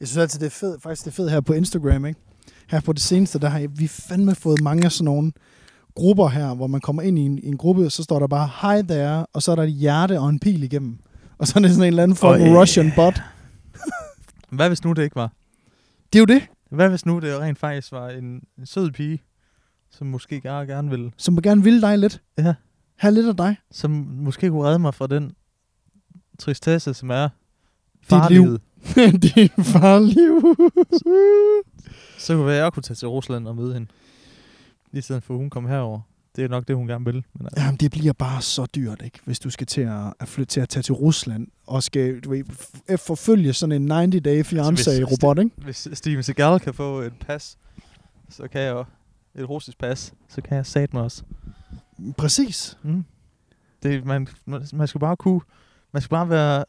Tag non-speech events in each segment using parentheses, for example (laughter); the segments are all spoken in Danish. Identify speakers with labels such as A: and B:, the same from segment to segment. A: Jeg synes altid, det er fedt, faktisk det er fedt her på Instagram, ikke? Her på det seneste, der har jeg, vi fandme fået mange af sådan nogle grupper her, hvor man kommer ind i en, i en gruppe, og så står der bare, hej there, og så er der et hjerte og en pil igennem. (laughs) Og så er det sådan en eller anden form
B: Øj.
A: for Russian bot.
B: Hvad hvis nu det ikke var?
A: Det er jo det,
B: Hvad hvis nu det rent faktisk var en, en sød pige, som måske gerne, gerne ville,
A: som gerne vil dig lidt.
B: Ja.
A: Have lidt af
B: (laughs)
A: dig.
B: som måske kunne redde mig fra den tristesse, som er
A: liv.
B: farlivet.
A: det er en farlig
B: (laughs)
A: liv.
B: Så kunne være, at jeg kunne tage til Rusland og møde hende. I stedet for, at hun kom herover. Det er nok det, hun gerne vil. Men altså,
A: Jamen, det bliver bare så dyrt, ikke? Hvis du skal til at, at flytte til at tage til Rusland og skal du ved, f- forfølge sådan en 90-day
B: Altså, hvis-
A: fiancé robot, ikke?
B: hvis Steven Seagal kan få et pas, så kan jeg et russisk pas, så kan jeg sat mig også.
A: Præcis.
B: Mm. Det, man, man, man skal bare kunne, man skal bare være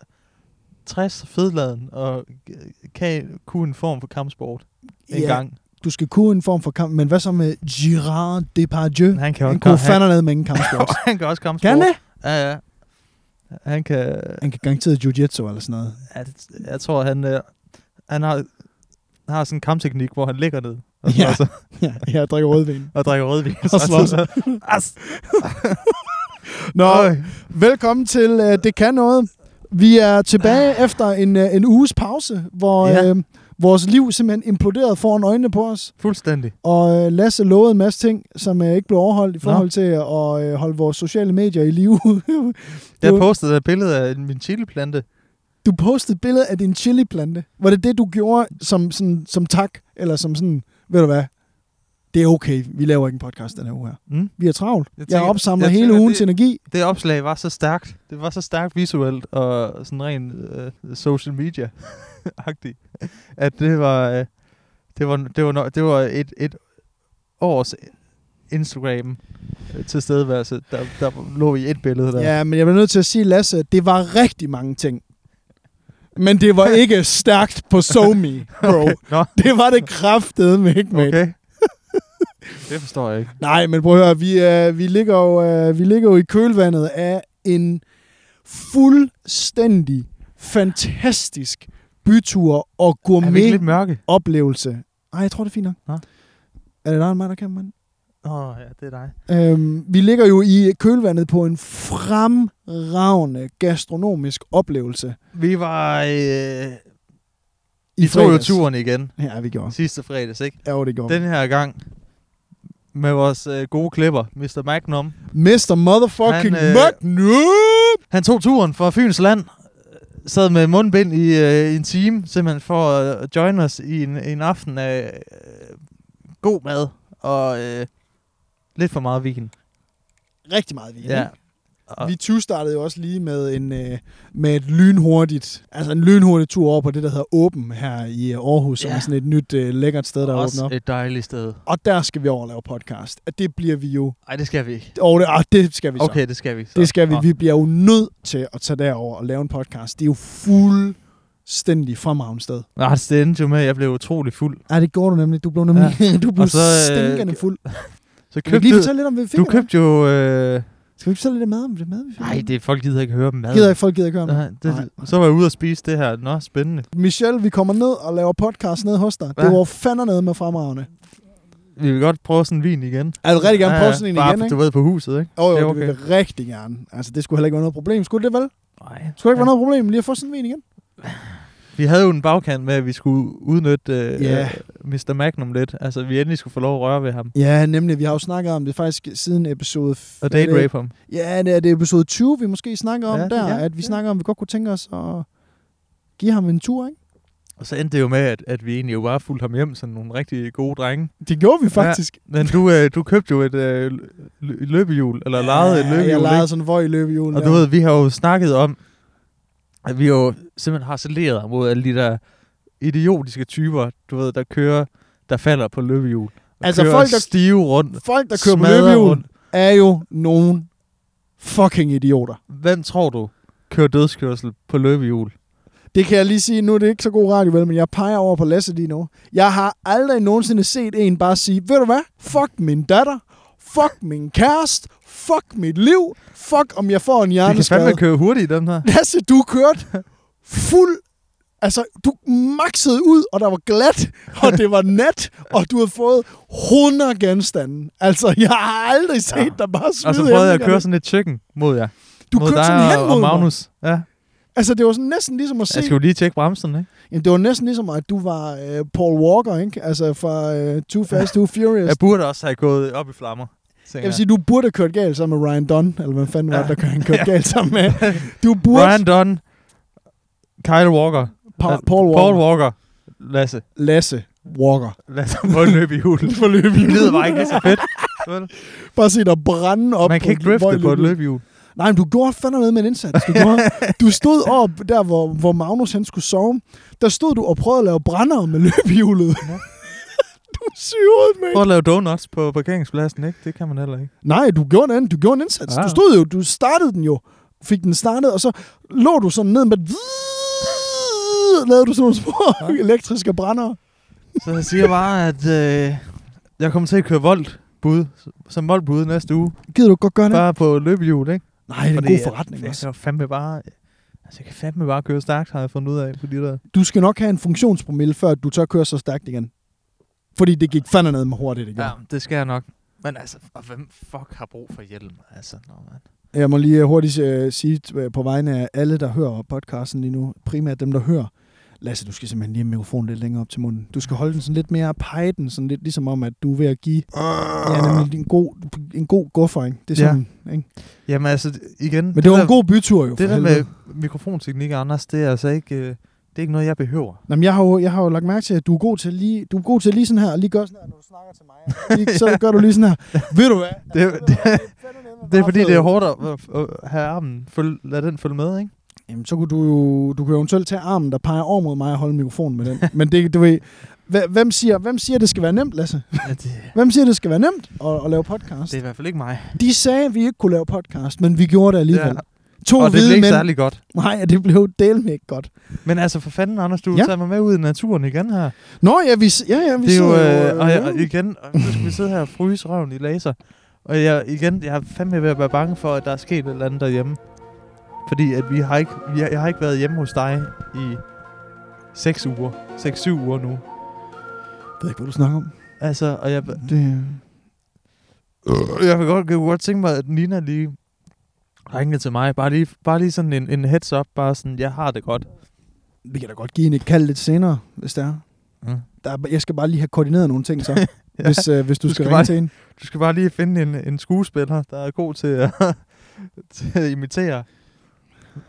B: 60 fedladen og øh, kan kunne en form for kampsport en
A: Ja,
B: gang.
A: Du skal kunne en form for kamp, men hvad så med Girard Depardieu?
B: Men Han kan,
A: han
B: også,
A: kunne
B: godt- han, (laughs)
A: fandme ned med ingen (laughs) kampsport.
B: han kan også kampsport.
A: kan det?
B: Ja, ja. Han kan...
A: Han kan garanteret jiu-jitsu eller sådan noget. (laughs)
B: Jeg, jeg tror, han, øh, han har, har sådan en kampteknik, hvor han ligger ned og,
A: Ja.
B: ja. så,
A: Ja, jeg drikker rødvin.
B: og drikker rødvin.
A: Og slår sig.
B: As,
A: Nå,
B: Øj.
A: velkommen til øh, Det Kan Noget. Vi er tilbage efter en, øh, en uges pause, hvor
B: Ja.
A: øh, vores liv simpelthen imploderede foran øjnene på os.
B: fuldstændig.
A: Og øh, Lasse lovede en masse ting, som øh, ikke blev overholdt i
B: Nå.
A: forhold til at øh, holde vores sociale medier i live. (laughs)
B: Jeg
A: Du-
B: postede et billede af min chiliplante.
A: du postede et billede af din chiliplante. Var det det, du gjorde som, sådan, som tak? Eller som sådan, ved du hvad, det er okay, vi laver ikke en podcast den her uge her.
B: Mm.
A: Vi er travlt. Jeg,
B: Jeg
A: tænker, jeg
B: tænker-
A: opsamler
B: jeg
A: hele
B: tænker,
A: ugens
B: det-
A: energi.
B: Det opslag var så stærkt. Det var så stærkt visuelt og sådan rent øh, social (laughs) media-agtigt, at det var, øh, det var, det var, no, det var et, et års Instagram øh, tilstedeværelse, der, der lå i et billede der.
A: Ja, men jeg bliver nødt til at sige, Lasse, det var rigtig mange ting. Men det
B: (laughs)
A: var ikke stærkt på SoMe, bro.
B: Nå,
A: Det var det kraftedeme ikke, mate.
B: okay. (laughs) det forstår jeg ikke.
A: Nej, men prøv at høre, vi, øh, vi, ligger jo, øh, vi ligger jo i kølvandet af en fuldstændig fantastisk bytur og
B: Er vi ikke lidt
A: gourmet
B: mørke?
A: oplevelse. Nej, jeg tror, det er fint nok.
B: Nå.
A: Er det der end mig, der kan, mand?
B: Åh, oh, ja, det er dig.
A: Øhm, vi ligger jo i kølvandet på en fremragende gastronomisk oplevelse.
B: Vi var... Øh,
A: I
B: vi tog jo
A: fredags.
B: turen igen
A: Ja, vi gjorde.
B: sidste fredags, ikke?
A: Ja, jo, det gjorde.
B: Den
A: Den...
B: her gang med vores øh, gode klipper, Mr. Magnum.
A: Mr. Motherfucking
B: Han, øh,
A: Magnum!
B: Han tog turen fra Fyns Land, øh, sad med mundbind i øh, en time, simpelthen for at øh, join os i en, en aften af øh, god mad og øh, lidt for meget vin.
A: Rigtig meget vin. ikke?
B: Ja. Og,
A: Vi 20 startede jo også lige med en øh, med et lynhurtigt, altså en lynhurtig tur over på det der hedder Åben her i øh, Aarhus, ja. som
B: Ja.
A: er sådan et nyt øh, lækkert sted der
B: også
A: åbner op.
B: et dejligt sted.
A: Og der skal vi over og lave podcast. Og det bliver vi jo.
B: Nej, det skal vi ikke.
A: Og det, ah, det skal vi så.
B: Okay, det skal vi. Så.
A: Det skal vi.
B: Nå.
A: Vi bliver jo nødt til at tage derover og lave en podcast. Det er jo fuldstændig fremragende sted.
B: Nå, det endte jo med, at jeg blev utrolig fuld.
A: Ja, det går du nemlig. Du blev nemlig ja. (laughs) du blev
B: Og så, øh,
A: stinkende fuld.
B: Så
A: Kan vi ikke lige fortælle lidt om, hvad vi fik?
B: du
A: eller
B: købte jo... Øh,
A: hvad? Skal vi ikke fortælle lidt mad om det mad, vi fik?
B: nej, det, folk gider ikke høre om mad.
A: Gider ikke, folk gider ikke høre om det.
B: Nej, det,
A: Nej.
B: så var jeg ude og spise det her. Nå, spændende.
A: Michelle, vi kommer ned og laver podcast ned hos dig.
B: Hva?
A: Det var fandme ned med fremragende.
B: Vi vil godt prøve sådan en vin igen.
A: Jeg vil rigtig gerne prøve sådan en
B: bare,
A: igen,
B: på-
A: ikke?
B: Du ved, på huset, ikke?
A: Jo, jo,
B: Det er
A: det vil vi rigtig gerne. Altså, det skulle heller ikke være noget problem. Skulle det vel?
B: Nej.
A: Skulle det ikke være noget problem lige at få sådan en vin igen?
B: Vi havde jo en bagkant med, at vi skulle udnytte øh,
A: Ja.
B: yeah. Mr. Magnum lidt. Altså, vi endelig skulle få lov at røre ved ham.
A: Ja, nemlig. Vi har jo snakket om det faktisk siden episode...
B: Og date rape ham.
A: Ja, det er, det er episode 20, vi måske snakker om ja,
B: Ja,
A: der. Ja,
B: ja,
A: at vi ja.
B: ja.
A: snakker om, at vi godt kunne tænke os at give ham en tur, ikke?
B: Og så endte det jo med, at, at vi egentlig jo bare fulgte ham hjem som nogle rigtig gode drenge.
A: Det gjorde vi
B: Ja.
A: faktisk.
B: Men du, øh, du købte jo et øh, lø- løbehjul, eller
A: Ja,
B: lejede et løbehjul,
A: Jeg
B: ikke?
A: lejede sådan en vøj i løbehjulen.
B: Og du
A: ja.
B: ved, vi har jo snakket om, at vi jo simpelthen harceleret mod alle de der idiotiske typer, du ved, der kører, der falder på løbehjul. Og
A: Altså,
B: kører
A: folk, der-
B: stive rundt.
A: Folk, der kører med
B: smadrer
A: løbehjul,
B: rundt.
A: er jo nogen fucking idioter.
B: Hvem tror du kører dødskørsel på løbehjul?
A: Det kan jeg lige sige, nu er det ikke så god radio, vel, men jeg peger over på Lasse lige nu. Jeg har aldrig nogensinde set en bare sige, ved du hvad, fuck min datter, fuck min kæreste, fuck mit liv, fuck om jeg får en
B: De kan
A: hjerneskade.
B: fandme køre hurtigt, dem her.
A: Lasse, du kørte fuld, Altså, du maxede ud, og der var glat, og det var nat, og du havde fået 100 genstande. Altså, jeg har aldrig set
B: Ja.
A: dig bare smide
B: Og så prøvede jeg at
A: hæmningerne.
B: køre sådan et chicken mod jer.
A: Du
B: mod
A: kørte
B: dig
A: sådan hen
B: og,
A: mod
B: og
A: mig.
B: Magnus. Ja.
A: Altså, det var sådan næsten ligesom at se...
B: Jeg skulle lige tjekke bremsen, ikke?
A: Jamen, det var næsten ligesom, at du var øh, Paul Walker, ikke? Altså, fra øh, Too Fast, Too Furious.
B: Jeg burde også have gået op i flammer. tænker
A: Jeg vil sige, du burde have kørt galt sammen med Ryan Dunn, eller hvad fanden var det, der kørte, han kørte galt sammen med? Du burde...
B: Ryan Dunn, Kyle Walker,
A: Pa-
B: øh,
A: Paul Walker.
B: Paul Walker, Lasse.
A: Lasse Walker.
B: Lasse på en løb i
A: (laughs)
B: hul.
A: For løb
B: Det lyder bare ikke lige så fedt. vel?
A: Bare se dig brænde op.
B: Man kan
A: på-
B: ikke drifte
A: hvor
B: på et
A: løbet-
B: løbehjul.
A: Nej, men du gjorde fandme med en indsats. Du, gjorde, du stod op der, hvor, hvor Magnus han skulle sove. Der stod du og prøvede at lave brændere med løbehjulet.
B: Ja.
A: (laughs) du syvede, mate.
B: Prøv at lave donuts på parkeringspladsen, ikke? Det kan man heller ikke.
A: Nej, du gjorde en, du gjorde en indsats.
B: Ja.
A: Du stod jo, du startede den jo. Fik den startet, og så lå du sådan ned med... (laughs) Lavede du sådan nogle små
B: Ja.
A: (laughs) elektriske brændere.
B: Så jeg siger bare, at øh, jeg kommer til at køre voldt bud, som voldbud næste uge.
A: Gider du godt gøre det?
B: Bare på løbehjul, ikke?
A: Nej, Ah. det er en
B: Fordi,
A: god
B: øh,
A: forretning
B: Jeg
A: også.
B: kan fandme bare... Altså, jeg kan fandme bare køre stærkt, har jeg fundet ud af, fordi der...
A: Du skal nok have en funktionspromille, før du tør køre så stærkt igen. Fordi det gik fandme ned med hurtigt, det gjorde.
B: Ja, det skal jeg nok. Men altså, og hvem fuck har brug for hjelm? Altså, nå, man.
A: Jeg må lige øh, hurtigt øh, sige øh, på vegne af alle, der hører podcasten lige nu, primært dem, der hører, Lasse, du skal simpelthen lige have mikrofonen lidt længere op til munden. Du skal holde den sådan lidt mere, pege den sådan lidt, ligesom om, at du er ved at give ja, nemlig en god, en god guffer, ikke? Det er
B: Ah. Ja.
A: sådan, ja. ikke?
B: Jamen altså, igen...
A: Men det var
B: der,
A: en god bytur jo, for
B: Det der
A: helvede.
B: med mikrofonteknik, Anders, det er altså ikke... Øh, det er ikke noget, jeg behøver.
A: Nå, men jeg, har jo, jeg har jo lagt mærke til, at du er god til lige, du er god til lige sådan her, og lige gøre sådan her, når du snakker til
B: (laughs)
A: mig. Lige, så gør du lige sådan her. Ved du hvad?
B: Det-
A: Altså, ved du hvad? er fandme nemmere
B: Det er
A: bare
B: fordi,
A: at få-
B: det er hårdt at, at have armen. Følg, lad den følge med, ikke?
A: Jamen, så kunne du jo, du kunne jo eventuelt tage armen, der peger over mod mig og holde mikrofonen med den. Men det, du ved, hva- hvem siger, hvem siger, det skal være nemt, Lasse?
B: Ja, det,
A: Hvem siger, det skal være nemt at, at lave podcast?
B: det er i hvert fald ikke mig.
A: De sagde, at vi ikke kunne lave podcast, men vi gjorde det alligevel.
B: Ja.
A: Ja. To
B: Og det
A: hvide
B: blev ikke
A: mænd.
B: særlig godt.
A: Nej, og det blev delme ikke godt.
B: Men altså, for fanden, Anders, du
A: Ja.
B: ja. tager mig med ud i naturen igen her.
A: Nå, ja, vi, s- ja, ja, vi
B: det er jo,
A: sidder
B: øh, og, jeg, og
A: ja.
B: igen, og nu skal vi sidde her og fryse røven i laser. Og jeg, igen, jeg er fandme ved at være bange for, at der er sket et eller andet derhjemme. Fordi at vi har ikke, vi har, jeg har ikke været hjemme hos dig i 6 uger. 6-7 uger nu.
A: Jeg ved ikke, hvad du snakker om.
B: Altså, og jeg,
A: Det,
B: jeg kan godt, jeg kunne godt tænke mig, at Nina lige ringede til mig. Bare lige, bare lige sådan en, en heads up. Bare sådan, jeg har det godt.
A: vi kan da godt give en et kald lidt senere, hvis det er.
B: Mm.
A: Der, er- jeg skal bare lige have koordineret nogle ting,
B: (laughs)
A: så. ja. hvis, øh, hvis du, du
B: Du
A: skal,
B: skal
A: ringe
B: bare-
A: til en.
B: Du skal bare lige finde en, en skuespiller, der er god til at, (laughs) til at imitere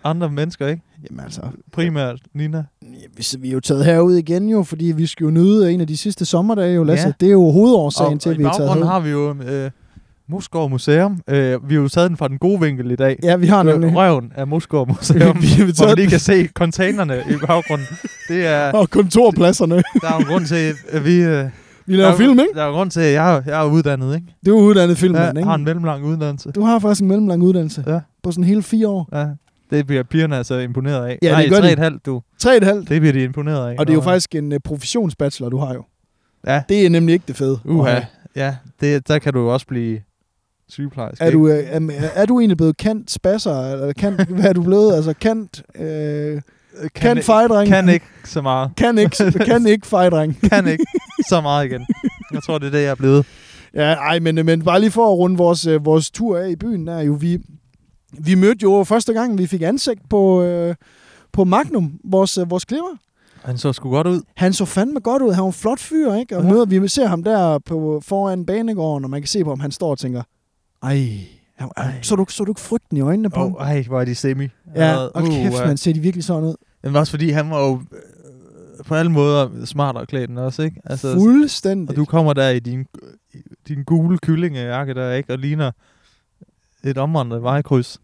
B: andre mennesker, ikke?
A: Jamen altså,
B: Primært Nina.
A: Ja, vi, vi er jo taget herud igen jo, fordi vi skal jo nyde en af de sidste sommerdage jo, Lasse. Ja.
B: Ja.
A: Det er jo hovedårsagen til,
B: og
A: at
B: i
A: vi er taget
B: baggrunden
A: herud.
B: har vi jo øh, Moskov Museum. Øh, vi har jo taget den fra den gode vinkel i dag.
A: Ja, vi har nemlig.
B: Røven af Moskov Museum,
A: (laughs) Vi- vi har
B: hvor
A: taget
B: man lige
A: den-
B: kan se containerne i baggrunden. Det er,
A: Og
B: (laughs)
A: kontorpladserne.
B: der er jo en grund til, at vi... Øh, der,
A: Vi laver
B: er jo-
A: film, ikke?
B: Der er jo en grund til, at jeg, er- jeg er uddannet, ikke?
A: Du er uddannet filmmand,
B: Jeg har en
A: ikke?
B: mellemlang uddannelse.
A: Du har faktisk en mellemlang uddannelse
B: Ja.
A: på sådan hele fire år.
B: Ja, det bliver pigerne altså imponeret af.
A: Ja,
B: Nej,
A: det gør de.
B: tre et halvt, du.
A: Tre et halvt.
B: Det bliver de imponeret af.
A: Og det er jo
B: Nå.
A: faktisk en uh, professionsbachelor, du har jo.
B: Ja.
A: Det er nemlig ikke det fede. øh,
B: Uha,
A: Okay.
B: ja, det, der kan du jo også blive sygeplejerske.
A: Er
B: ikke?
A: du, øh, er, er du egentlig blevet kendt spasser? Eller kendt, hvad er du blevet? Altså kendt, øh,
B: Øh,
A: kendt
B: ikke-
A: fejdring?
B: kan ikke så meget.
A: Kan
B: (laughs)
A: ikke, kan ikke fejdring.
B: Kan ikke så meget igen. Jeg tror, det er det, jeg er blevet.
A: Ja, ej, men, men bare lige for at runde vores, øh, vores tur af i byen, der er jo vi... Vi mødte jo første gang, vi fik ansigt på, øh, på Magnum, vores, øh, vores klipper.
B: Han så sgu godt ud.
A: Han så fandme godt ud. Han var en flot fyr, ikke? Og
B: Ja.
A: møder, vi ser ham der på, foran banegården, og man kan se på, om han står og tænker, ej, han,
B: Ej.
A: Så, du, så du ikke frygten i øjnene på
B: Åh,
A: ham?
B: oh, ej, hvor er de semi.
A: Ja,
B: Allerede.
A: og kæft,
B: uh,
A: man ser de virkelig sådan ud.
B: Men også fordi, han var jo øh, på alle måder smartere klædt end os, ikke?
A: Altså,
B: Altså, og
A: Fuldstændig.
B: du kommer der i din, i din gule kyllingejakke der, ikke? Og ligner et omvandret vejkryds.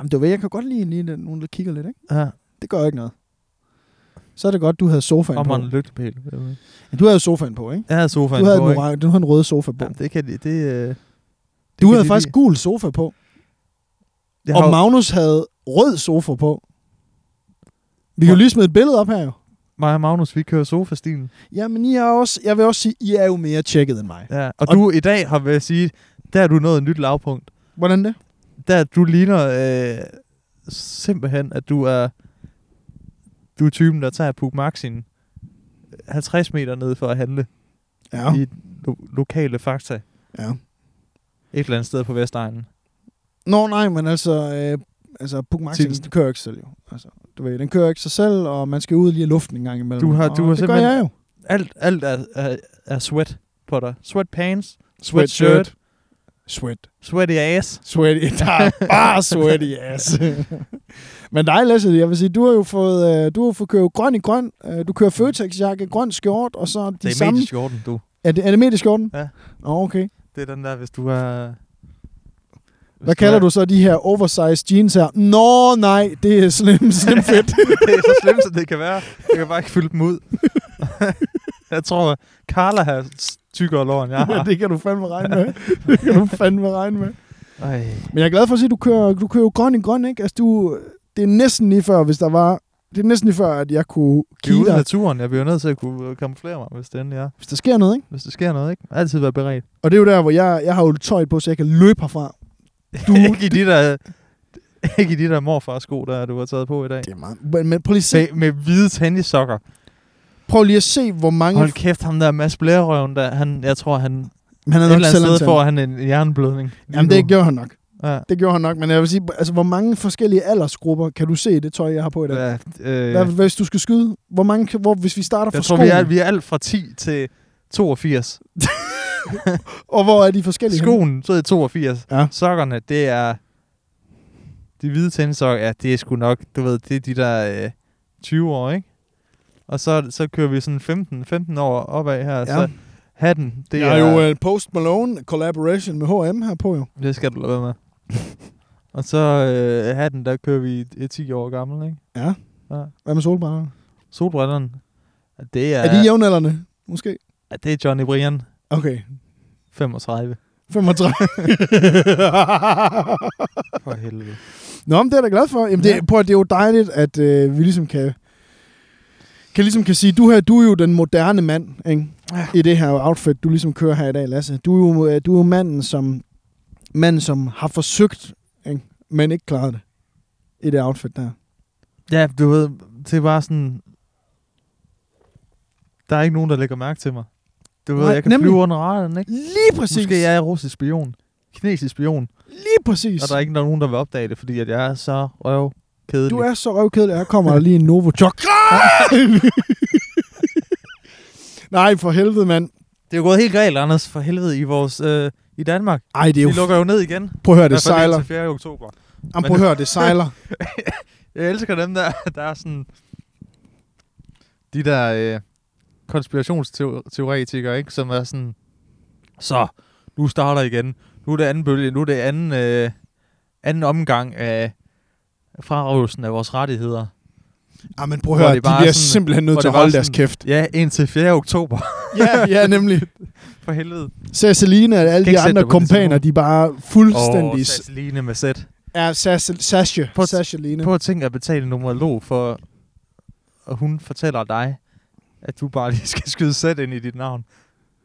A: Jamen, du ved, jeg kan godt lide, lige den- nogen, der kigger lidt, ikke?
B: Ja,
A: Det gør ikke noget. Så er det godt, du havde sofaen på.
B: omvandret lygtepæl.
A: Du havde jo sofaen på, ikke?
B: Jeg havde sofaen
A: Du havde,
B: på,
A: en,
B: ikke?
A: oran- du havde en rød sofa på.
B: Ja, det kan de, det, øh, det
A: Du
B: kan
A: havde
B: de
A: faktisk
B: lide.
A: gul sofa på,
B: Jeg
A: og
B: har jo-
A: Magnus havde rød sofa på. Vi kan jo
B: Hvor-
A: lige smide et billede op her jo.
B: mig og Magnus, vi kører sofastilen.
A: Jamen, I er også, jeg vil også sige, I er jo mere tjekket end mig.
B: Ja. Og,
A: Og-
B: og, du i dag har ved at sige, der er du nået et nyt lavpunkt.
A: Hvordan det?
B: Der du ligner øh, simpelthen, at du er du er typen, der tager Puk Maxin 50 meter ned for at handle
A: Ja,
B: ja. i lo- lokale fakta et
A: ja.
B: eller andet sted på Vestegnen.
A: Nå nej, men altså, øh, altså Puk Maxi,
B: Til-
A: den kører ikke selv jo. Altså, du ved, den kører ikke sig selv, og man skal ud lige i luften en gang imellem.
B: Du har-
A: og
B: du har
A: det
B: simpelthen-
A: gør jeg jo.
B: Alt, alt er, er, er sweat på dig. Sweatpants,
A: Sweatshirt.
B: Sweatshirt.
A: Sweat.
B: sweaty ass.
A: Sweaty, (laughs) der er bare sweaty
B: (laughs)
A: ass. Men dig, Lasse, jeg vil sige, du har jo fået, øh, du har fået kørt grøn i grøn. Øh, Du kører Føtex-jakke, grøn skjort, og så de
B: Det er
A: samme...
B: medieskjorten, du.
A: Er det, er det medieskjorten?
B: Ja.
A: Nå, okay.
B: Det er den der, hvis du er...
A: Hvad kalder du så de her oversized jeans her? Nå, nej, det er
B: (laughs)
A: slim, slim fit. (laughs)
B: det er så slemt, som det kan være. Jeg kan bare ikke fylde dem ud. jeg tror, at Carla har tykkere lår, end jeg har.
A: (laughs) det kan du fandme regne med. Det kan du fandme regne med.
B: Ej.
A: Men jeg er glad for at sige, at du kører, du kører jo grøn i grøn, ikke? Altså, du, det er næsten lige før, hvis der var... Det er næsten lige før, at jeg kunne
B: Det er
A: kigge
B: ude i
A: dig,
B: naturen. Jeg bliver nødt til at kunne kamuflere mig, hvis det endelig er.
A: hvis der sker noget, ikke?
B: Hvis der sker noget, ikke? Altid være beredt.
A: Og det er jo der, hvor jeg, jeg har jo tøjet på, så jeg kan løbe herfra.
B: (laughs) Du,
A: (laughs)
B: ikke, i de der, ikke i de der morfars sko, der du har taget på i dag.
A: Det er meget... Men, men prøv, lige at se,
B: Med, med hvide tennissokker.
A: prøv lige at se, hvor mange...
B: Hold kæft, ham der Mads Blærerøven, der, han, jeg tror, han et
A: han er
B: eller andet
A: selvantaget.
B: sted får han en hjerneblødning. lige
A: Jamen,
B: nu.
A: det gjorde han nok.
B: Ja.
A: Det gjorde han nok, men jeg vil sige, altså, hvor mange forskellige aldersgrupper kan du se i det tøj, jeg har på i dag? Ja.
B: Ja, øh,
A: Hvad, hvis du skal skyde, hvor mange, kan- hvor, hvis vi starter fra
B: jeg tror, vi er,
A: skoen,
B: vi er alt fra 10 til 82.
A: og hvor er de forskellige? henne?
B: Skoen, så er det 82.
A: Ja.
B: Sokkerne, det er... De hvide tennissokker, ja, det er sgu nok, du ved, det er de der øh, 20 år, ikke? Og så, så kører vi sådan 15, 15 år opad her, ja. så hatten, det
A: jeg har jo uh, Post Malone collaboration med H&M her på jo.
B: Det skal du lade være med. og så øh, hatten, der kører vi et- et 10 år gammel, ikke?
A: Ja.
B: ja.
A: Hvad med solbrillerne?
B: Solbrillerne, det er,
A: Ja. Er de jævnaldrende? Måske?
B: ja, det er Johnny Brian,
A: Okay. (laughs)
B: 35.
A: 35.
B: For helvede.
A: Nå, men det er jeg da glad for. Jamen, det,
B: Ja.
A: prøv, at- det er jo dejligt, at øh, vi ligesom kan, kan, ligesom kan sige, du her, du er jo den moderne mand, ikke?
B: Ja.
A: I det her outfit, du ligesom kører her i dag, Lasse. Du er jo, øh, du er jo manden, som, manden, som har forsøgt, ikke? men ikke klaret det i det outfit der.
B: Ja, du ved, det er bare sådan... Der er ikke nogen, der lægger mærke til mig. Du ved,
A: Nej,
B: Nej, jeg kan
A: nemlig.
B: nemlig. flyve under radaren, ikke?
A: Lige præcis.
B: Måske jeg er russisk spion. Kinesisk spion.
A: Lige præcis.
B: Og der er ikke nogen, der vil opdage det, fordi at jeg er så røv kedelig.
A: Du er så røvkedelig. Her kommer der lige en Novo
B: (laughs)
A: Chok. Nej, for helvede, mand.
B: Det er jo gået helt galt, Anders, for helvede, i vores... Øh, I Danmark.
A: Ej, det er jo...
B: De lukker jo ned igen.
A: Prøv at høre,
B: I hvert
A: det
B: fald
A: sejler.
B: indtil 4. oktober.
A: Jamen, prøv at høre, det sejler.
B: Jeg elsker dem der, (laughs) der er sådan... De der øh, konspirationsteoretikere, ikke? Som er sådan... Så, nu starter igen. Nu er det anden bølge. Nu er det anden, øh, anden omgang af frarøvelsen af vores rettigheder.
A: Jamen, Ah, prøv at
B: Hvor
A: høre, de
B: det bare
A: bliver
B: sådan-
A: simpelthen nødt
B: hvor
A: til
B: det
A: at
B: bare
A: holde deres
B: sådan-
A: kæft.
B: Ja, indtil 4. oktober. (laughs)
A: Ja, ja, nemlig.
B: For helvede.
A: Ceciline og alle
B: Kan
A: de
B: ikke sætte
A: andre
B: dig på det
A: kompaner,
B: tidspunkt.
A: de er bare fuldstændig...
B: Åh, Sasseline med sæt.
A: er Sas- Sasha.
B: Prøv at-
A: Sashaline.
B: Prøv at tænke at betale en numerolog for... Og hun fortæller dig, at du bare lige (laughs) skal skyde sæt ind i dit navn.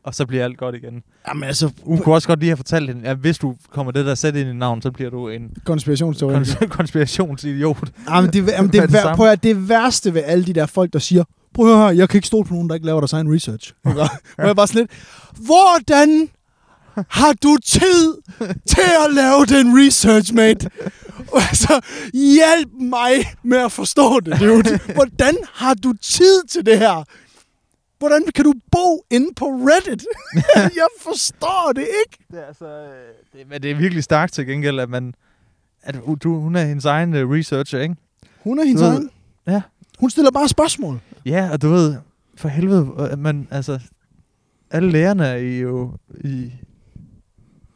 B: Og så bliver alt godt igen.
A: Jamen, altså...
B: Hun kunne også godt lige have fortalt hende, at hvis du kommer det der sæt ind i navn, så bliver du en (laughs)
A: Konspirationsteorien.
B: kons- konspirationsidiot.
A: Jamen, Ah, det, jamen, det,
B: Med det
A: vær,
B: samme.
A: prøv at, høre, det værste ved alle de der folk, der siger, prøv at høre, jeg kan ikke stole på nogen, der ikke laver deres egen research. Hvor jeg bare sådan lidt, hvordan har du tid til at lave den research, mate? Altså, hjælp mig med at forstå det, dude. Hvordan har du tid til det her? Hvordan kan du bo inde på Reddit? (laughs) jeg forstår det ikke.
B: Det er altså, øh, det, men det er virkelig stærkt til gengæld, at, man, at hu- du, hun er hendes egen øh, researcher, ikke?
A: Hun er hendes
B: Du ved-
A: egen.
B: Ja.
A: Hun stiller bare spørgsmål.
B: Ja, og du ved, for helvede, øh, at man, altså, alle lærerne er jo i,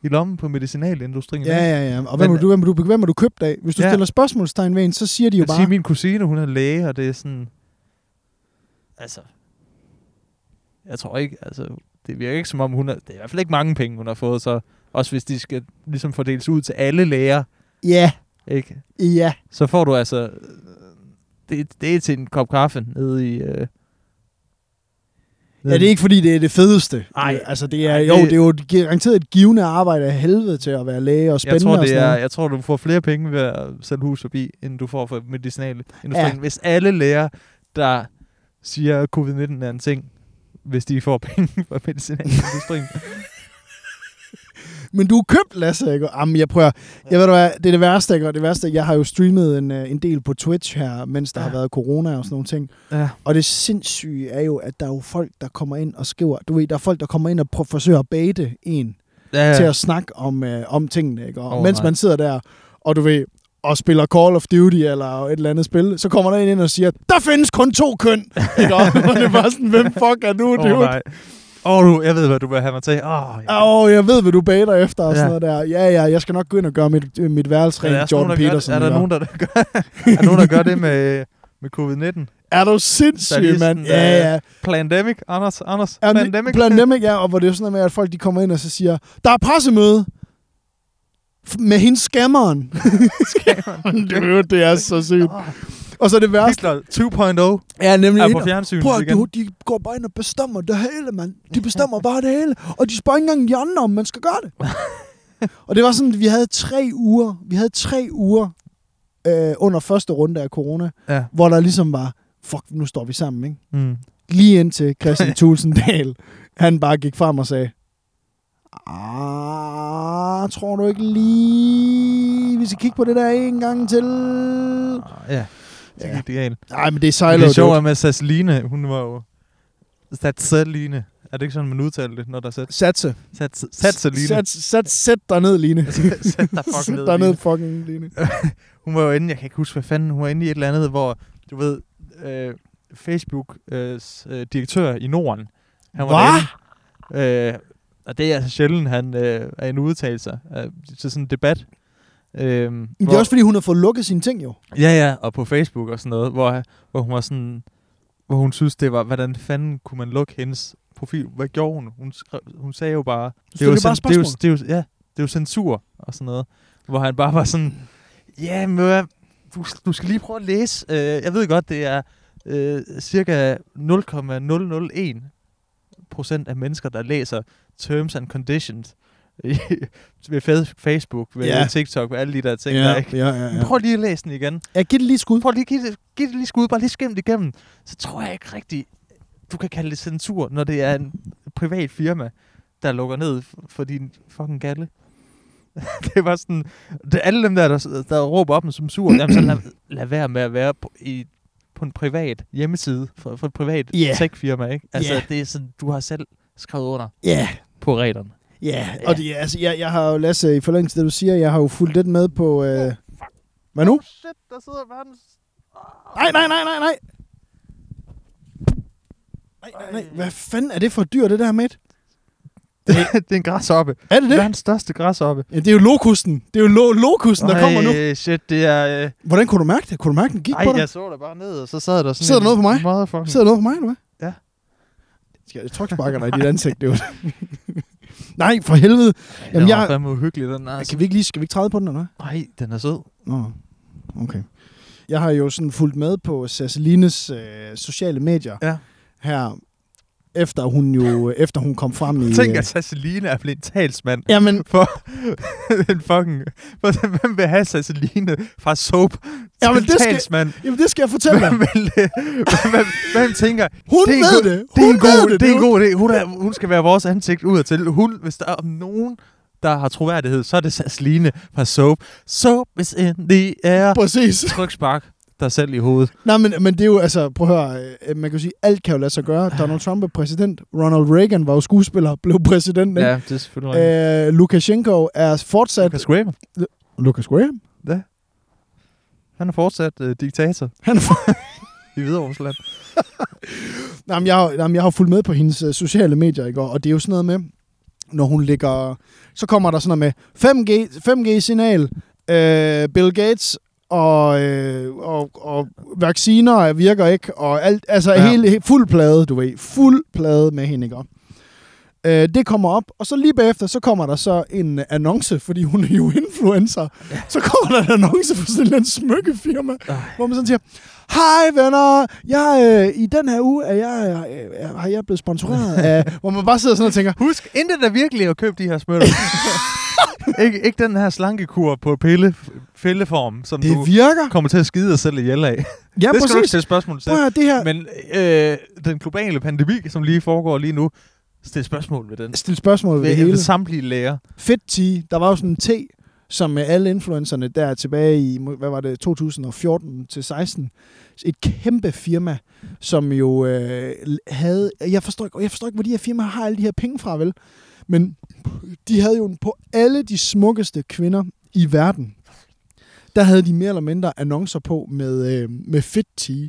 B: i lommen på medicinalindustrien.
A: Ja,
B: Hm, ikke?
A: ja, ja. Og hvem
B: Men-
A: er du, hvem er du, hvem er du købt af? Hvis du ja.
B: Ja.
A: stiller spørgsmålstegn ved en, så siger de jo
B: Jeg siger,
A: bare...
B: min kusine, hun er læge, og det er sådan... Altså... Jeg tror ikke, altså... Det virker ikke som om, hun er... Det er i hvert fald ikke mange penge, hun har fået, så... Også hvis de skal ligesom fordeles ud til alle læger,
A: Ja,
B: ikke?
A: ja.
B: Så får du altså... øh, Det, det er til en kop kaffe nede i... Øh,
A: Ja, det er ikke, fordi det er det fedeste.
B: Ej.
A: altså, det er,
B: Ej,
A: jo,
B: det-
A: det er jo et garanteret et givende arbejde af helvede til at være læge og
B: jeg
A: spændende
B: tror,
A: og
B: det
A: sådan
B: er,
A: noget.
B: jeg tror, du får flere penge ved at sælge hus forbi, end du får for medicinalindustrien.
A: Ja.
B: Ja. Hvis alle læger der siger, at covid-19 er en ting, hvis de får (laughs) penge fra
A: (laughs)
B: medicinalindustrien.
A: Men du er købt, Lasse, ikke? Jamen, jeg prøver. Jeg ved du hvad, det er det værste, ikke? Og det værste, jeg har jo streamet en, øh, en del på Twitch her, mens der ja. har
B: Ja.
A: været corona og sådan nogle ting.
B: ja.
A: Og det sindssyge er jo, at der er jo folk, der kommer ind og skriver... Du ved, der er folk, der kommer ind og prøver, forsøger at bate en
B: Ja,
A: ja. til
B: ja.
A: at snakke om, øh, om tingene, ikke? Og
B: Åh,
A: oh, mens
B: nej.
A: man sidder der, og du ved og spiller Call of Duty eller et eller andet spil, så kommer der en ind og siger, der findes kun to
B: (laughs)
A: køn! Ikke? Og det er bare sådan, hvem fuck er du,
B: Åh,
A: dude?
B: nej. Åh, du, jeg ved, hvad du vil have mig til. Åh, ja.
A: Åh, oh, jeg ved, hvad du bader efter og sådan
B: Ja.
A: noget der. Ja, ja, jeg skal nok gå ind og gøre mit, øh, mit værelse
B: Er der
A: rent
B: også
A: Jordan
B: nogen, der gør-
A: Peterson.
B: Er der
A: eller?
B: nogen, der der gør, er nogen, der gør det med, (laughs) med covid-19?
A: er du sindssyg,
B: Statisten,
A: mand?
B: der-
A: Ja, ja.
B: Pandemic, Anders, Anders,
A: Er
B: pandemic.
A: Pandemic, ja, og hvor det er sådan noget med, at folk de kommer ind og så siger, der er pressemøde F- med hende skammeren. Dude, (laughs) det er så sygt. Og så er det værste.
B: Hitler 2.0
A: Ja, nemlig.
B: er
A: hende-
B: på fjernsynet
A: Prøv at
B: igen.
A: du, de går bare ind og bestemmer det hele, mand. De bestemmer bare det hele. Og de spørger ikke engang de andre, om man skal gøre det.
B: (laughs)
A: og det var sådan, at vi havde tre uger, vi havde tre uger øh, under første runde af corona,
B: Ja.
A: hvor der ligesom var, fuck, nu står vi sammen, ikke?
B: Mm.
A: Lige indtil Christian (laughs) Tulsendal, han bare gik frem og sagde, ah, tror du ikke lige, vi skal kigge på det der en gang til?
B: Ah, Ja, så
A: Ja.
B: gik det galt.
A: Nej, men det er
B: Men
A: sejler.
B: Det sjove er med Sasseline, hun var jo... Satseline. Er det ikke sådan, man udtaler det, når der er sat?
A: Satse.
B: Satseline.
A: Sæt, sæt, sæt dig ned, Line.
B: (laughs) Sæt dig
A: Sæt
B: fucking ned.
A: dig ned,
B: Line.
A: fucking Line.
B: Hun var jo inde, jeg kan ikke huske, hvad fanden, hun var inde i et eller andet, hvor, du ved, øh, Facebook øh, s- øh, direktør i Norden, han var
A: Hva?
B: derinde. Øh, og det er altså sjældent, han øh, er en udtalelse øh, til sådan en debat. Øh,
A: Men det er også, fordi hun har fået lukket sine ting, jo.
B: Ja, ja, og på Facebook og sådan noget, hvor, hvor hun var sådan, hvor hun synes, det var, hvordan fanden kunne man lukke hendes profil? Hvad gjorde hun? Hun, skrev, hun sagde jo bare,
A: stillede
B: jo,
A: bare
B: cen- det, er jo,
A: spørgsmål.
B: det, er jo, ja, det er jo censur og sådan noget, hvor han bare var sådan, ja, men hvad- du, du skal lige prøve at læse, øh, jeg ved godt, det er øh, cirka 0,001 procent af mennesker, der læser Terms and Conditions (laughs) ved fa- Facebook, ved
A: Ja.
B: TikTok, ved alle de der ting, ja. der, ikke?
A: ja, ja,
B: Men Prøv lige at læse den igen.
A: ja. Giv det lige et skud.
B: Prøv lige at give det, give det lige skud, bare lige skim det igennem. Så tror jeg ikke rigtigt, du kan kalde det censur, når det er en privat firma, der lukker ned f- for din fucking galle. (laughs) det var sådan, det, alle dem der, der, s- der råber op med censur, jamen så lad, lad være med at være på, i, på en privat hjemmeside for, for et privat
A: Ja.
B: yeah. techfirma, ikke? Altså,
A: Ja.
B: yeah. det er sådan, du har selv skrevet under
A: Ja,
B: på reglerne.
A: ja. Og det, altså, jeg, jeg har jo, Lasse, i forlængelse af det, du siger, jeg har jo fulgt lidt med på... Øh... Hvad nu?
B: Oh, Shit, der sidder verdens...
A: Nej, nej, nej, nej, nej. Nej, nej, nej. Hvad fanden er det for et dyr, det der med?
B: det er en græshoppe.
A: Er det det?
B: Verdens største græshoppe.
A: Ja, det er jo lokusten. Det er jo lo- lokusten, der kommer nu.
B: Ej, shit, det er... Øh,
A: Hvordan kunne du mærke det? Kunne du mærke, den gik
B: Ej,
A: på dig?
B: jeg så der bare ned, og så sad der sådan
A: Sidder der noget på mig?
B: Motherfucking...
A: Sidder noget for mig, eller hvad?
B: Ja.
A: Skal jeg tryksparker dig i dit ansigt, det (laughs) Nej, for helvede. Jamen,
B: Jamen,
A: jeg-
B: jeg... Den var fandme uhyggelig, den der. altså.
A: Kan vi ikke lige, skal vi ikke træde på den, eller hvad?
B: Nej, den er sød.
A: Nå, okay. Jeg har jo sådan fulgt med på Sasselines øh, sociale medier
B: Ja.
A: her, efter hun jo efter hun kom frem i...
B: Tænk,
A: øh,
B: at Sasseline er blevet en talsmand
A: Jamen,
B: for (laughs) en fucking... For, hvem vil have Sasseline fra soap til
A: Jamen,
B: en
A: det skal-
B: talsmand?
A: jamen, det skal jeg fortælle dig.
B: Hvem, vil, det? hvem, hvem, hvem tænker...
A: Hun
B: det er en
A: ved
B: god-
A: det.
B: Det er
A: Hun ved
B: en god, det, det er en
A: dude.
B: god idé. Hun, er, hun skal være vores ansigt udadtil. Hun, hvis der er nogen, der har troværdighed, så er det Sasseline fra Soap. Soap is in the air.
A: Præcis.
B: Tryk spark dig selv i hovedet.
A: Nej, men, men det er jo, altså, prøv at høre, øh, man kan jo sige, alt kan jo lade sig gøre. Donald Trump er præsident, Ronald Reagan var jo skuespiller, blev præsident, ikke?
B: det er selvfølgelig
A: Øh, Lukashenko er fortsat...
B: Lucas Graham.
A: Lucas Graham?
B: Ja. Han er fortsat øh, diktator
A: Han er for...
B: i Hviderussland.
A: Nej, men jeg, har- nej, men jeg har jo fulgt med på hendes øh, sociale medier, ikke? Og- og det er jo sådan noget med, når hun ligger... Så kommer der sådan noget med 5G, 5G-signal, øh, Bill Gates og, øh, og, og vacciner virker ikke, og alt, altså ja.
B: Ja.
A: hele, he- fuld plade, du ved, fuld plade med hende, ikke? Øh, det kommer op, og så lige bagefter, så kommer der så en øh, annonce, fordi hun er jo influencer. Ja. Så kommer der en annonce for sådan en eller anden smykkefirma,
B: Ej.
A: hvor man sådan siger, hej venner, jeg, øh, i den her uge er jeg, øh, er, har jeg
B: (laughs)
A: blevet sponsoreret af, hvor man bare sidder sådan og tænker,
B: (laughs) Husk, intet er virkelig at købe de her smykker. ikke, ikke den her slankekur på pille, fældeform, som
A: Det
B: du
A: virker.
B: kommer til at skide dig selv ihjel
A: Ja,
B: af. det skal du ikke
A: præcis.
B: stille spørgsmål til.
A: Prøv at høre, det her... Men...
B: Men øh, den globale pandemi, som lige foregår lige nu, stiller spørgsmål ved den.
A: Stil spørgsmål ved,
B: Ved,
A: det hele.
B: ved samtlige læger.
A: Fedt tea. Der var jo sådan en te, som med alle influencerne der tilbage i, må- hvad var det, 2014 til 16, et kæmpe firma, som jo øh, havde, jeg forstår, ikke, jeg forstår ikke, hvor de her firmaer har alle de her penge fra, vel? Men de havde jo på alle de smukkeste kvinder i verden, der havde de mere eller mindre annoncer på med, øh, med fit tea,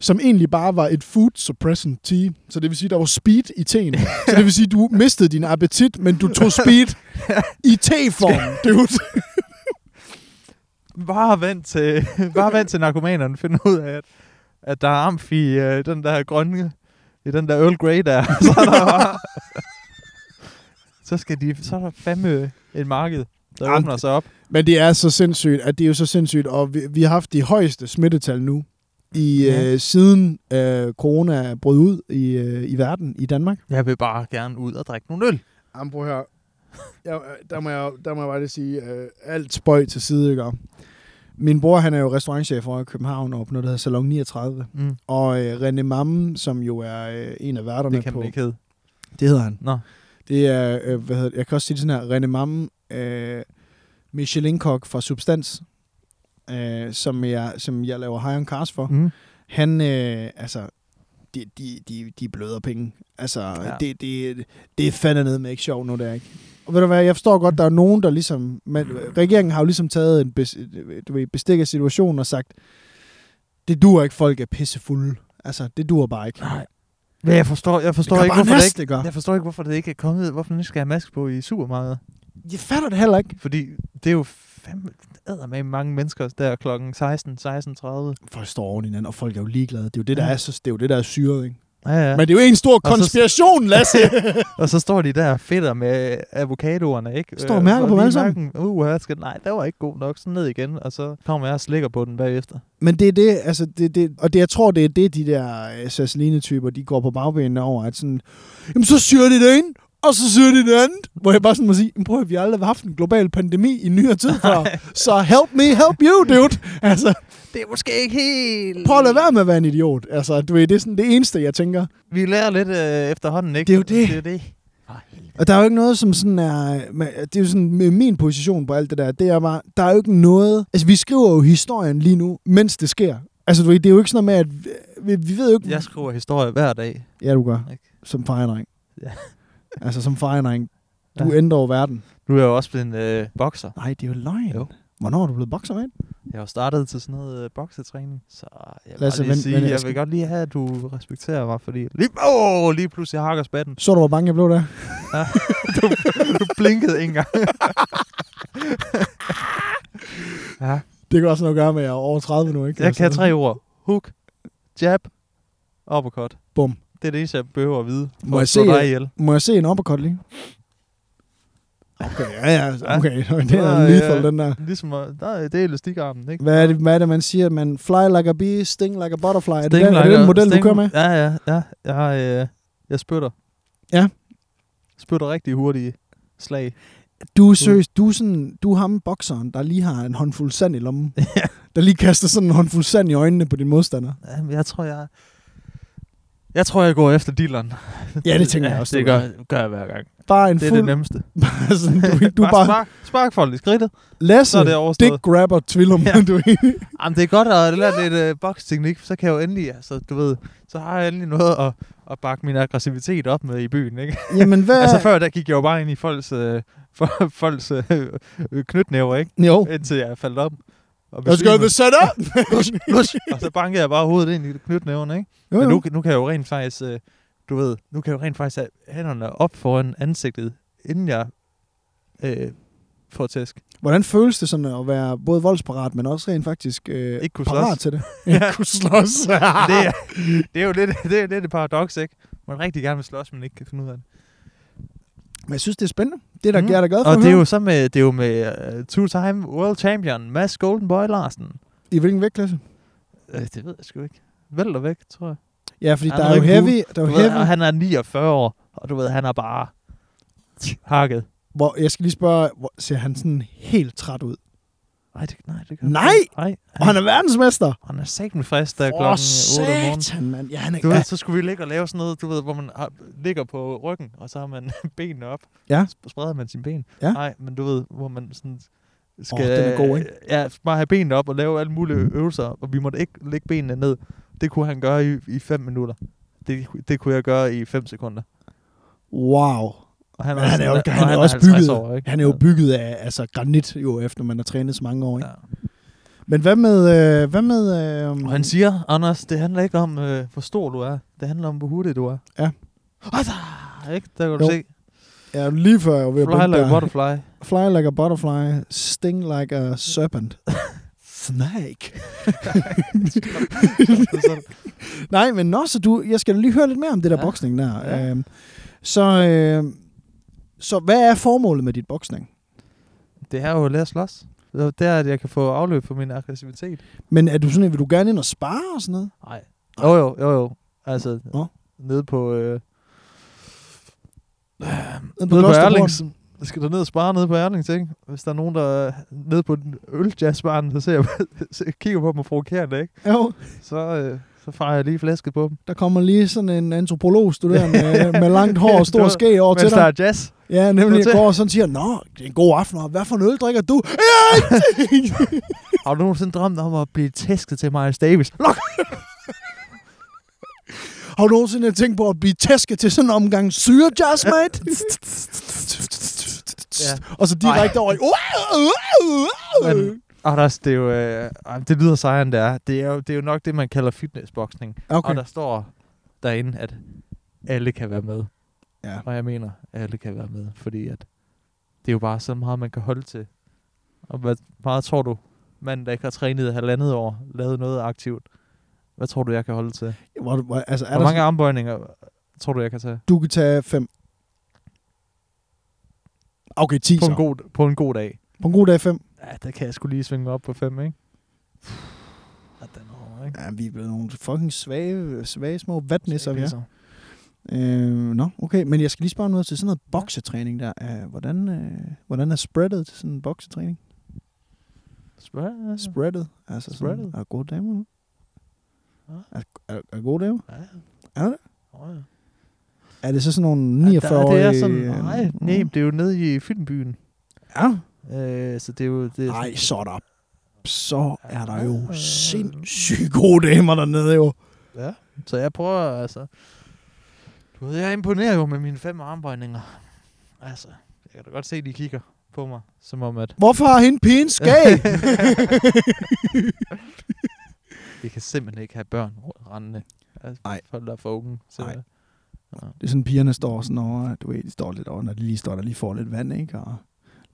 A: som egentlig bare var et food suppressant tea. Så det vil sige, der var speed i teen. Så det vil sige, du mistede din appetit, men du tog speed i teform, dude.
B: Bare vent til, (laughs) bare vent til narkomanerne finder ud af, at, at der er amf i øh, den der grønne, i den der Earl Grey der. (laughs) så, er der bare, så, skal de, så er der fandme et marked, der
A: Jamen,
B: åbner sig op.
A: Men det er så sindssygt, at det er jo så sindssygt, og vi, vi har haft de højeste smittetal nu i
B: Ja.
A: ja. øh, siden øh, corona brød ud i, øh, i verden, i Danmark.
B: Jeg vil bare gerne ud og drikke nogle øl.
A: Jamen, prøv her. Jeg, der, må jeg, der må jeg bare lige sige, øh, alt spøj til side, ikke? Min bror, han er jo restaurantchef over i København og på noget, der hedder Salon 39.
B: Mm,
A: Og øh, René Mamme, som jo er øh, en af værterne
B: det kan
A: på...
B: man ikke hedde.
A: Det hedder han.
B: Nå.
A: Det er, øh, hvad hedder det? jeg kan også sige det sådan her, René Mamme, øh, Michelin-kok fra Substans, øh, som, jeg, som jeg laver High on Cars for. Mm.
B: Mm.
A: Han, øh, altså, de, de, de, de bløder penge. Altså, ja. det, det, det er fandme ned med ikke sjov nu, det er ikke. Og ved du hvad, jeg forstår godt, der er nogen, der ligesom... Man, regeringen har jo ligesom taget en bes, du ved, bestik af situationen og sagt, det duer ikke, folk er pissefulde. Altså, det duer bare ikke.
B: Nej. Men jeg forstår, jeg
A: det gør
B: forstår ikke,
A: bare
B: hvorfor det
A: næst,
B: ikke
A: det gør.
B: Jeg forstår ikke, hvorfor det ikke er kommet, hvorfor den ikke skal have mask på i supermarkedet.
A: Jeg fatter det heller ikke.
B: Fordi det er jo fandme med mange mennesker der klokken 16, 16.30.
A: folk står oven i hinanden, og folk er jo ligeglade. Det er jo det, der
B: Ja.
A: er, så, det er, jo det, der er syret, ikke?
B: Ja, ja.
A: Ja. Men det er jo en stor
B: så-
A: konspiration, Lasse!
B: Og så står de der og fedter med avocadoerne, ikke?
A: Står og
B: Øh,
A: mærker på dem
B: lige
A: alle sammen.
B: mærken, Uh, jeg skal, nej, det var ikke god nok. Så ned igen, og så kommer jeg og slikker på den bagefter.
A: (laughs) Men det er det, altså, det, det, og det, jeg tror, det er det, de der øh, Sasseline-typer, de går på bagbenene over, at sådan, jamen så syrer de det ind, og så syrer de det andet. Hvor jeg bare sådan må sige, "Men prøv at vi har aldrig har haft en global pandemi i nyere tid før, så help me, help you, dude. Altså,
B: Det er måske ikke helt...
A: prøv at lade være med at være en idiot. Altså, du ved, det er sådan det eneste, jeg tænker.
B: Vi lærer lidt øh, efterhånden, ikke?
A: Det er jo det.
B: Det er det.
A: Og der er jo ikke noget, som sådan er... men øh, Det er jo sådan, med min position på alt det der, det er bare, der er jo ikke noget... Altså, vi skriver jo historien lige nu, mens det sker. Altså, du ved, det er jo ikke sådan noget med, at vi, vi ved jo ikke...
B: Jeg skriver historie hver dag.
A: Ja, du gør.
B: Ikke?
A: Som fejring.
B: Ja.
A: (laughs) altså, som fejring. Du
B: Ja.
A: ja. ændrer jo verden.
B: Nu er jeg jo også blevet en øh, bokser.
A: Nej, det er jo løgn.
B: Jo.
A: Hvornår er du blevet bokser, mand?
B: Jeg har jo startet til sådan noget øh, boksetræning, så jeg vil,
A: Lasse,
B: Lasse, lige
A: men-
B: sige,
A: men jeg
B: jeg,
A: skal-
B: vil godt lige have, at du respekterer mig, fordi lige, åh, lige pludselig hakker spatten.
A: Så du, hvor bange jeg blev der?
B: Du, du blinkede ikke engang. ja,
A: Det kan også noget at gøre med, at jeg er over 30 nu, ikke?
B: jeg kan
A: Altså,
B: tre ord. Hook, jab, uppercut.
A: Bum.
B: Det er det, eneste, jeg behøver at vide.
A: Må jeg
B: at slå
A: se,
B: dig
A: øh,
B: ihjel.
A: Må jeg se en uppercut lige? Okay, ja, ja. Okay, (laughs) det er
B: Ja,
A: en
B: ja.
A: lethal, den der.
B: Ligesom, at- der, er- det er elastikarmen, ikke?
A: Hvad er, det, hvad er det, man siger? Man fly like a bee, sting like a butterfly. Er det, den, er
B: Sting
A: det
B: lighter-
A: den model, du
B: sting-
A: kører med?
B: Ja, ja, ja. Jeg, øh, jeg spytter.
A: Ja.
B: Spytter rigtig hurtigt slag.
A: Du er
B: Mm.
A: seriøs, du er, sådan, du er ham bokseren, der lige har en håndfuld sand i lommen. der lige kaster sådan en håndfuld sand i øjnene på din modstander.
B: Jamen, jeg tror, jeg... Jeg tror, jeg går efter dealeren.
A: Ja, det tænker jeg også,
B: Det
A: du
B: gør, gør jeg hver gang.
A: Bare en
B: Det er
A: fuld...
B: det
A: (laughs)
B: nemmeste.
A: bare sådan, du, du er bare
B: spark, spark folk i skridtet,
A: Lasse,
B: så er det
A: dick
B: overstået.
A: grabber tvillum. Ja.
B: Ja.
A: (laughs) Du, ved.
B: Jamen, det er godt at lære lidt øh, boksteknik, så kan jeg jo endelig, altså, du ved, så har jeg endelig noget at, at bakke min aggressivitet op med i byen, ikke?
A: Jamen, hvad...
B: Altså, før der gik jeg jo bare ind i folks, øh, (laughs) for, folks øh, øh, knytnæver, ikke?
A: Jo.
B: Indtil jeg faldt om. Og
A: Let's go to the
B: besvimede. (laughs)
A: setup!
B: Lush, lush. Og så bankede jeg bare hovedet ind i knytnæverne, ikke?
A: Jo,
B: Men
A: jo.
B: nu, nu kan jeg jo rent faktisk, øh, du ved, nu kan jeg jo rent faktisk have hænderne op foran ansigtet, inden jeg øh, får tæsk.
A: Hvordan føles det sådan at være både voldsparat, men også rent faktisk øh,
B: Ikke kunne
A: parat
B: slås.
A: til det?
B: (laughs) Ja.
A: Ikke kunne (laughs) slås.
B: det, er, det er jo lidt det, er lidt et paradoks, ikke? Man rigtig gerne vil slås, men ikke kan finde ud af det.
A: Men jeg synes, det er spændende. Det er der,
B: Mm.
A: mm. jeg er da glad for
B: Og
A: at
B: det er
A: høre.
B: jo så med, det er jo med uh, two-time world champion Mads Golden Boy Larsen.
A: I hvilken vægtklasse?
B: Øh, det ved jeg sgu ikke. Vælter væk, tror jeg.
A: Ja, fordi
B: Han
A: der
B: er
A: er jo
B: rigtig
A: heavy, der er
B: Du
A: jo
B: ved, og
A: heavy.
B: han er 49 år, og du ved, han er bare hakket.
A: Hvor, jeg skal lige spørge, hvor, ser han sådan helt træt ud?
B: Nej, det, nej, det
A: Nej!
B: Nej, han,
A: Og han er verdensmester!
B: han er satme frisk, der
A: For
B: er klokken 8 om morgenen.
A: satan, mand. (laughs) Ja, han er,
B: Du
A: ja,
B: ved, så skulle vi ligge og lave sådan noget, du ved, hvor man har, ligger på ryggen, og så har man (laughs) benene op.
A: Ja.
B: Sp- Spreder man sine ben.
A: Ja.
B: Nej, men du ved, hvor man sådan skal... øh,
A: den er god, ikke? Mm.
B: Ja, bare have benene op og lave alle mulige øvelser, og vi måtte ikke lægge benene ned. Det kunne han gøre i, i fem minutter. Det, det kunne jeg gøre i 5 sekunder.
A: wow.
B: Og han, altså
A: Men han er jo,
B: og
A: han er også bygget,
B: 50 år, ikke?
A: han er jo bygget af altså, granit, jo, efter man har trænet så mange år. Ikke?
B: Ja.
A: Men hvad med... Øh, hvad med øh,
B: Og han siger, Anders, det handler ikke om, øh, hvor stor du er. Det handler om, hvor hurtig du er.
A: Ja.
B: Og der, ikke? Der kan du
A: Jo,
B: se.
A: ja, lige før jeg var ved at
B: Fly
A: blinke
B: like
A: der. (laughs)
B: butterfly.
A: Fly like a butterfly, sting like a
B: (laughs)
A: serpent. Snake. Nej, men nå, så du, jeg skal da lige høre lidt mere om det der ja.
B: Ja.
A: boksning der. Ja.
B: Ja.
A: Øhm, så, øh, så hvad er formålet med dit boksning?
B: det er jo at lære at slås. Det er, at jeg kan få afløb for min aggressivitet.
A: Men er du sådan, en, vil du gerne ind og spare og sådan noget?
B: Nej. Jo, jo, jo, jo. Altså,
A: Nå.
B: nede på... Øh,
A: Nede på
B: nede på
A: Klosterbrønd?
B: Erlings. Jeg skal der ned og spare nede på Erlings, ikke? Hvis der er nogen, der er nede på den øljazzbaren, så ser jeg, (laughs) så jeg kigger på dem og provokerer det, ikke?
A: Jo,
B: Så, øh, så farer jeg lige flæsket på dem.
A: der kommer lige sådan en antropologstuderende med, med langt hår og stor
B: Ja,
A: skæg over til
B: Mens der
A: dig.
B: er jazz.
A: Ja, nemlig
B: Noter.
A: jeg går og sådan siger, Nå, det er en god aften, og hvad for en øl drikker du? (laughs)
B: Har du nogensinde drømt om at blive tæsket til Miles Davis? Luk!
A: Har du nogensinde tænkt på at blive tæsket til sådan en omgang syre jazz, mate?
B: Ja.
A: Og så direkte over i...
B: Men, Anders, det er jo... Øh, ej, det lyder sejere, end det er. Det er, jo, det er jo nok det, man kalder fitnessboksning. Okay.
A: Okay.
B: Og der står derinde, at alle kan være med.
A: Ja.
B: Og jeg mener, at alle kan være med, fordi at det er jo bare så meget, man kan holde til. Og hvad meget tror du, manden, der ikke har trænet i halvandet år, lavet noget aktivt, hvad tror du, jeg kan holde til? Er
A: Hvor, hvor, altså, er
B: Hvor
A: der
B: mange
A: mange...
B: armbøjninger tror du, jeg kan tage?
A: Du kan tage fem. Okay, ti
B: På en,
A: så.
B: god, på en god dag.
A: På en god dag fem.
B: Ja, der kan jeg skulle lige svinge mig op på fem, ikke? Ja, den er hård, ikke?
A: Ja, vi er blevet nogle fucking svage, svage små vatnisser, vi er.
B: Pisser.
A: Øh, nå, okay. Men jeg skal lige spørge noget til sådan noget boksetræning der. Øh, hvordan, øh, hvordan er spreadet til sådan en boksetræning?
B: Spørg.
A: Spreadet? Altså
B: Spreadet?
A: Sådan, er der gode damer nu?
B: Hva?
A: Er, er, er der gode damer?
B: Ja.
A: Er der det?
B: Åh, ja.
A: Er det så sådan nogle
B: Ja, der
A: 49
B: er
A: årige
B: det er sådan, nej, nej, det er jo nede i filmbyen.
A: Ja.
B: Øh, så det er jo... Det er
A: Ej, så er der... Så er der jo
B: Ja.
A: sindssygt gode damer dernede jo.
B: ja. Så jeg prøver, altså... Du ved, jeg imponerer jo med mine fem armbøjninger. Altså, jeg kan da godt se, at de kigger på mig, som om at...
A: Hvorfor har hende pigen skæg?
B: (laughs) Vi kan simpelthen ikke have børn rendende. Altså,
A: Nej.
B: Folk, der er for unge.
A: Nej.
B: Nej.
A: Det er sådan, pigerne står sådan over, du ved, de står lidt over, når de lige står der lige får lidt vand, ikke? Og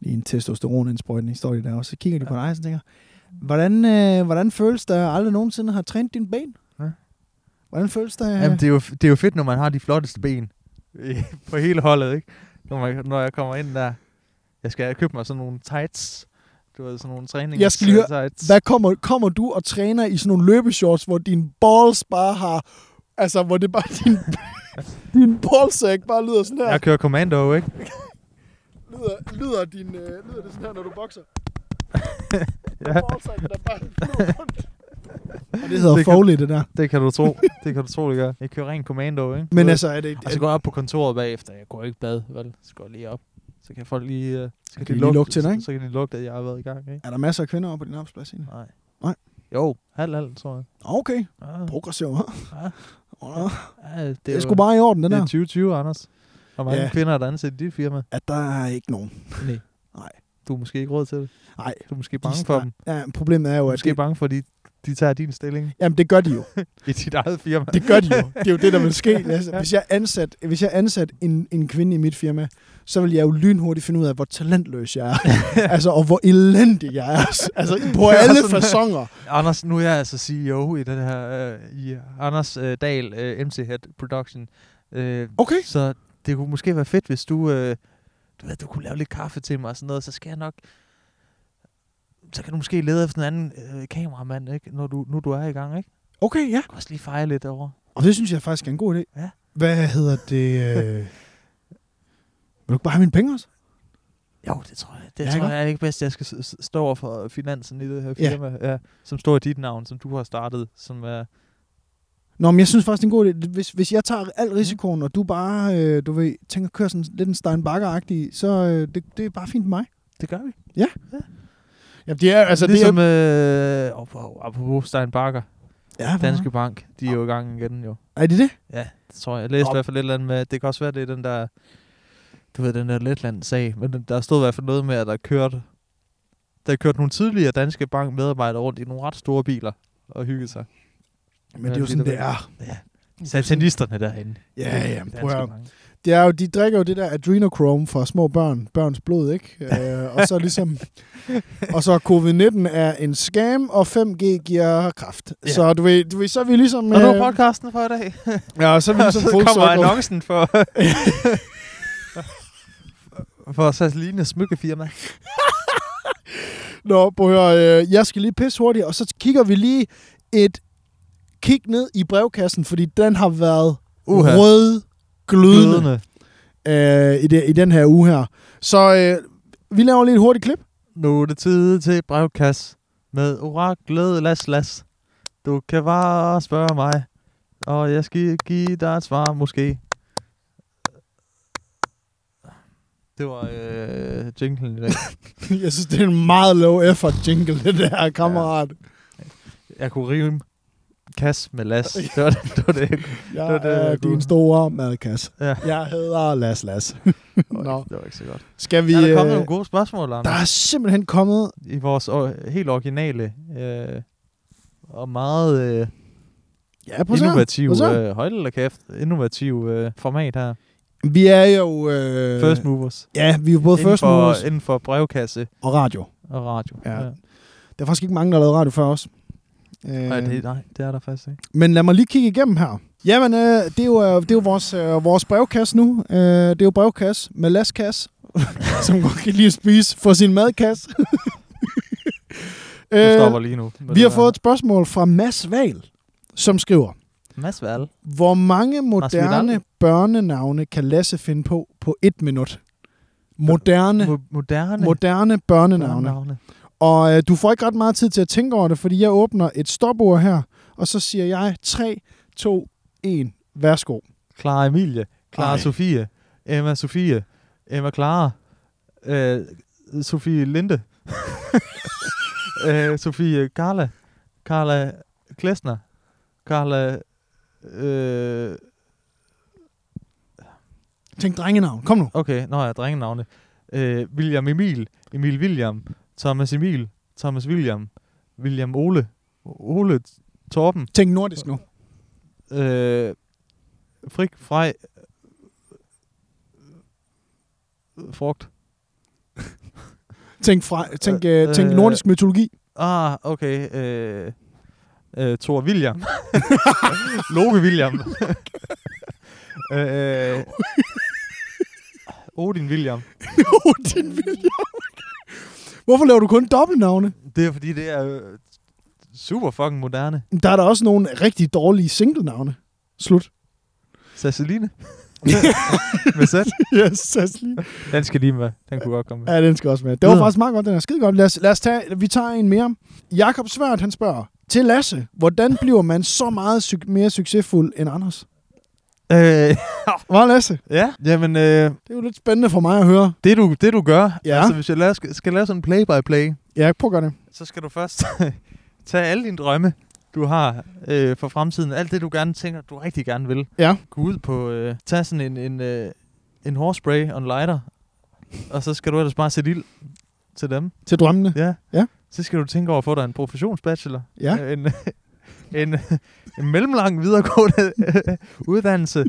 A: lige en testosteronindsprøjtning står de der, og så kigger de ja. på dig og så tænker, hvordan, øh, hvordan føles det, at jeg aldrig nogensinde har trænet dine ben? Ja.
B: Ja.
A: Hvordan føles det? øh?
B: Jamen, det er, jo, det er jo fedt, når man har de flotteste ben øh, på hele holdet, ikke? Når, man, når jeg kommer ind der, jeg skal købe mig sådan nogle tights. Du ved, sådan nogle træninger.
A: Jeg skal lige
B: tights.
A: Hvad kommer, kommer du og træner i sådan nogle løbeshorts, hvor din balls bare har... Altså, hvor det bare (laughs)
B: (laughs)
A: din, din ballsack bare lyder sådan her.
B: Jeg kører commando, ikke?
A: Lyder, lyder, din, øh, lyder det sådan her, når du
B: (laughs)
A: bokser?
B: Ja.
A: Ballsack, der bare flyver rundt. Og det hedder det Foley, det der.
B: Det kan
A: (laughs)
B: du tro. det kan du tro, det gør. Jeg kører ren commando, ikke?
A: Men
B: Du
A: altså, er det...
B: ved. Og så går jeg op på kontoret bagefter. Jeg går ikke bad, vel? Så går jeg lige op. Så kan folk lige... øh, Så
A: kan de lige lugte til dig, ikke?
B: Så kan de lugte, at jeg har været i gang, ikke?
A: Er der masser af kvinder oppe på din arbejdsplads egentlig?
B: Nej.
A: Nej.
B: Jo, halv, halv, tror jeg.
A: Okay,
B: Ah,
A: progressiv. hva'?
B: ah,
A: Åh,
B: ah, det,
A: Det
B: jo-
A: er sgu bare i orden, den
B: Det er
A: der.
B: 2020, Anders. Og mange
A: Ja.
B: ja. kvinder er der ansat i dit firma.
A: At der er ikke nogen.
B: Nej.
A: Nej.
B: Du er måske ikke råd til det.
A: Nej.
B: Du er måske
A: de
B: bange
A: snak-
B: for dem.
A: Ja, problemet er jo,
B: Du er
A: at
B: måske
A: det,
B: bange for, at de, de tager din stilling
A: jamen, det gør de jo.
B: i dit
A: (laughs)
B: eget firma.
A: Det gør de jo.
B: (laughs)
A: Det er jo det, der vil ske. Altså, hvis jeg ansat, hvis jeg ansat en, en kvinde i mit firma, så vil jeg jo lynhurtigt finde ud af, hvor talentløs jeg er. (laughs) altså, og hvor elendig jeg er. Altså, på alle
B: Sådan der.
A: fasonger.
B: Anders, nu er jeg altså CEO i den her, øh, i Anders øh, Dahl, øh, MC Head Production. Øh,
A: Okay.
B: Så det kunne måske være fedt, hvis du, øh, du, ved, du kunne lave lidt kaffe til mig og sådan noget, så skal jeg nok... Så kan du måske lede efter en anden øh, kameramand, ikke? Når du, nu du er i gang, ikke?
A: Okay, ja.
B: Du kan også lige fejre lidt over.
A: Og det synes jeg faktisk er en god idé.
B: Ja.
A: Hvad hedder det? Øh... Vil du ikke bare have mine penge også?
B: Jo, det tror jeg. Det
A: Ja,
B: tror
A: ikke?
B: jeg er ikke bedst, jeg skal s- s- stå over for finansen i det her firma, ja. Ja, som står i dit navn, som du har startet, som er...
A: Nå, men jeg synes faktisk, det er en god idé. Hvis, hvis jeg tager al risikoen, og du bare, øh, du ved, tænker at køre sådan lidt en Steinbacher-agtig, så øh, det, det er bare fint for mig.
B: Det gør vi.
A: Jamen, det er, altså,
B: Så
A: det
B: ligesom,
A: er...
B: det er... øh, op- op- apropos Stein Bakker,
A: Ja, Ah, hvad?
B: Danske Bank, de er jo i gang igen jo.
A: Er det det?
B: Ja, det tror jeg. Jeg læste
A: Nå.
B: i hvert fald et eller andet med, det kan også være, det er den der, du ved, den der Letland-sag, men den- der stod i hvert fald noget med, at der kørte, der kørte nogle tidligere Danske Bank medarbejdere rundt i nogle ret store biler og hyggede sig.
A: Men det er
B: Ja,
A: jo sådan,
B: det
A: det
B: er
A: er.
B: Satanisterne derinde.
A: Ja, ja, prøv at
B: Danske
A: høre.
B: Bank.
A: det er jo, de drikker jo det der adrenochrome fra små børn, børns blod,
B: (laughs)
A: ikke? Øh, og så ligesom, og så covid-19 er en scam, og 5G giver kraft.
B: Ja.
A: Ja. Så du ved, du ved, så er vi ligesom...
B: Og nu er podcasten for i dag.
A: (laughs) ja, og så er vi ligesom
B: så
A: full
B: kommer
A: circle.
B: annoncen
A: (laughs)
B: for... (laughs) for Sasselines smykkefirma.
A: Nå, prøv at høre, øh, jeg skal lige pisse hurtigt, og så kigger vi lige et kig ned i brevkassen, fordi den har været
B: Uha.
A: rød glødende øh, i, det, i den her uge her. Så øh, vi laver lige et hurtigt klip. (laughs)
B: Nu er det tid til brevkasse med oraklet Las Las. Du kan bare spørge mig, og jeg skal give dig et svar måske. Det var øh, jinglen i dag.
A: jeg synes, det er en meget low effort jingle, det der, kammerat.
B: Jeg kunne rime kas med
A: (laughs)
B: Las. Det var det, det, var det jeg kunne.
A: Jeg
B: Det var
A: det,
B: det,
A: det, er
B: jeg kunne.
A: din store madkasse.
B: Ja.
A: Jeg hedder Las Las. (laughs) Nå,
B: Det var ikke så godt.
A: skal vi...
B: Vi, er der kommet
A: øh,
B: nogle gode spørgsmål, Anders?
A: der er simpelthen kommet...
B: i vores or- helt originale øh, og meget øh,
A: Ja, prøv at se her.
B: innovative,
A: Prøv at se
B: øh, hold da kæft, innovative øh, format her.
A: Vi er jo... Øh,
B: First Movers.
A: Ja, vi er jo både
B: inden,
A: first
B: for,
A: movers
B: inden for brevkasse
A: og radio.
B: og radio.
A: Ja. Der er faktisk ikke mange, der har lavet radio før os. Øh,
B: Nej, det, nej, det er der faktisk ikke.
A: Men lad mig lige kigge igennem her. Jamen, øh, det, er jo, øh, det er jo vores, øh, vores brevkasse nu. Øh, det er jo brevkasse med laskasse, (laughs) som godt kan lide at spise for sin madkasse. (laughs)
B: Du
A: øh,
B: stopper lige nu. med
A: vi har
B: det
A: fået et
B: der.
A: spørgsmål fra Mads Val, som skriver,
B: Mads Val.
A: hvor mange moderne
B: Vidal?
A: børnenavne kan Lasse finde på på et minut? Moderne,
B: Mo- moderne.
A: moderne børnenavne.
B: børnenavne.
A: Og øh, du får ikke ret meget tid til at tænke over det, fordi jeg åbner et stopord her, og så siger jeg 3, 2, 1, værsgo.
B: Clara Emilie. Clara
A: Ej.
B: Sofie. Emma Sofie. Emma Clara. Øh, Sofie
A: (laughs)
B: Linde. øh, Sofie Carla. Carla Klesner. Carla... Øh,
A: Tænk drengenavn, kom nu.
B: okay, nå ja, drengenavne. Øh, William Emil. Emil William. Thomas Emil. Thomas William. William Ole. Ole Torben.
A: Tænk nordisk nu.
B: Øh, frik, frej, frugt.
A: Tænk, fra, tænk, øh,
B: Øh,
A: tænk
B: øh,
A: nordisk mytologi.
B: Ah, okay. Øh, øh, Thor William. Loke William. (laughs) øh, Odin William.
A: Odin William. Hvorfor laver du kun dobbeltnavne?
B: Det er fordi, det er øh, super fucking moderne.
A: Der er der også nogle rigtig dårlige singlenavne. Slut.
B: (laughs) Sasseline. med sæt.
A: Yes, Sasseline.
B: Den skal lige med. Den kunne godt komme med.
A: Ja, den skal også med. Det var
B: Videre.
A: faktisk meget godt, den er skide godt. Lad os, lad os tage, vi tager en mere. Jakob Svært, han spørger, til Lasse, hvordan bliver man så meget suc- mere succesfuld end Anders?
B: Øh,
A: Hvad Lasse?
B: ja, jamen, øh,
A: Det er jo lidt spændende for mig at høre.
B: det, du, det du gør,
A: Ja.
B: altså hvis jeg laver, skal, skal lave sådan en play-by-play,
A: Ja, prøv at gøre det.
B: så skal du først (laughs) tage alle dine drømme, du har øh, for fremtiden. Alt det, du gerne tænker, du rigtig gerne vil.
A: Ja.
B: Gå ud på, øh, tag sådan en, en, øh, en hårspray og en lighter, og så skal du ellers bare sætte ild til dem.
A: Til drømmene.
B: Ja.
A: Ja.
B: Så skal du tænke over at få dig en professionsbachelor.
A: Ja.
B: Øh, En, (laughs) en, en mellemlang videregående øh, uddannelse.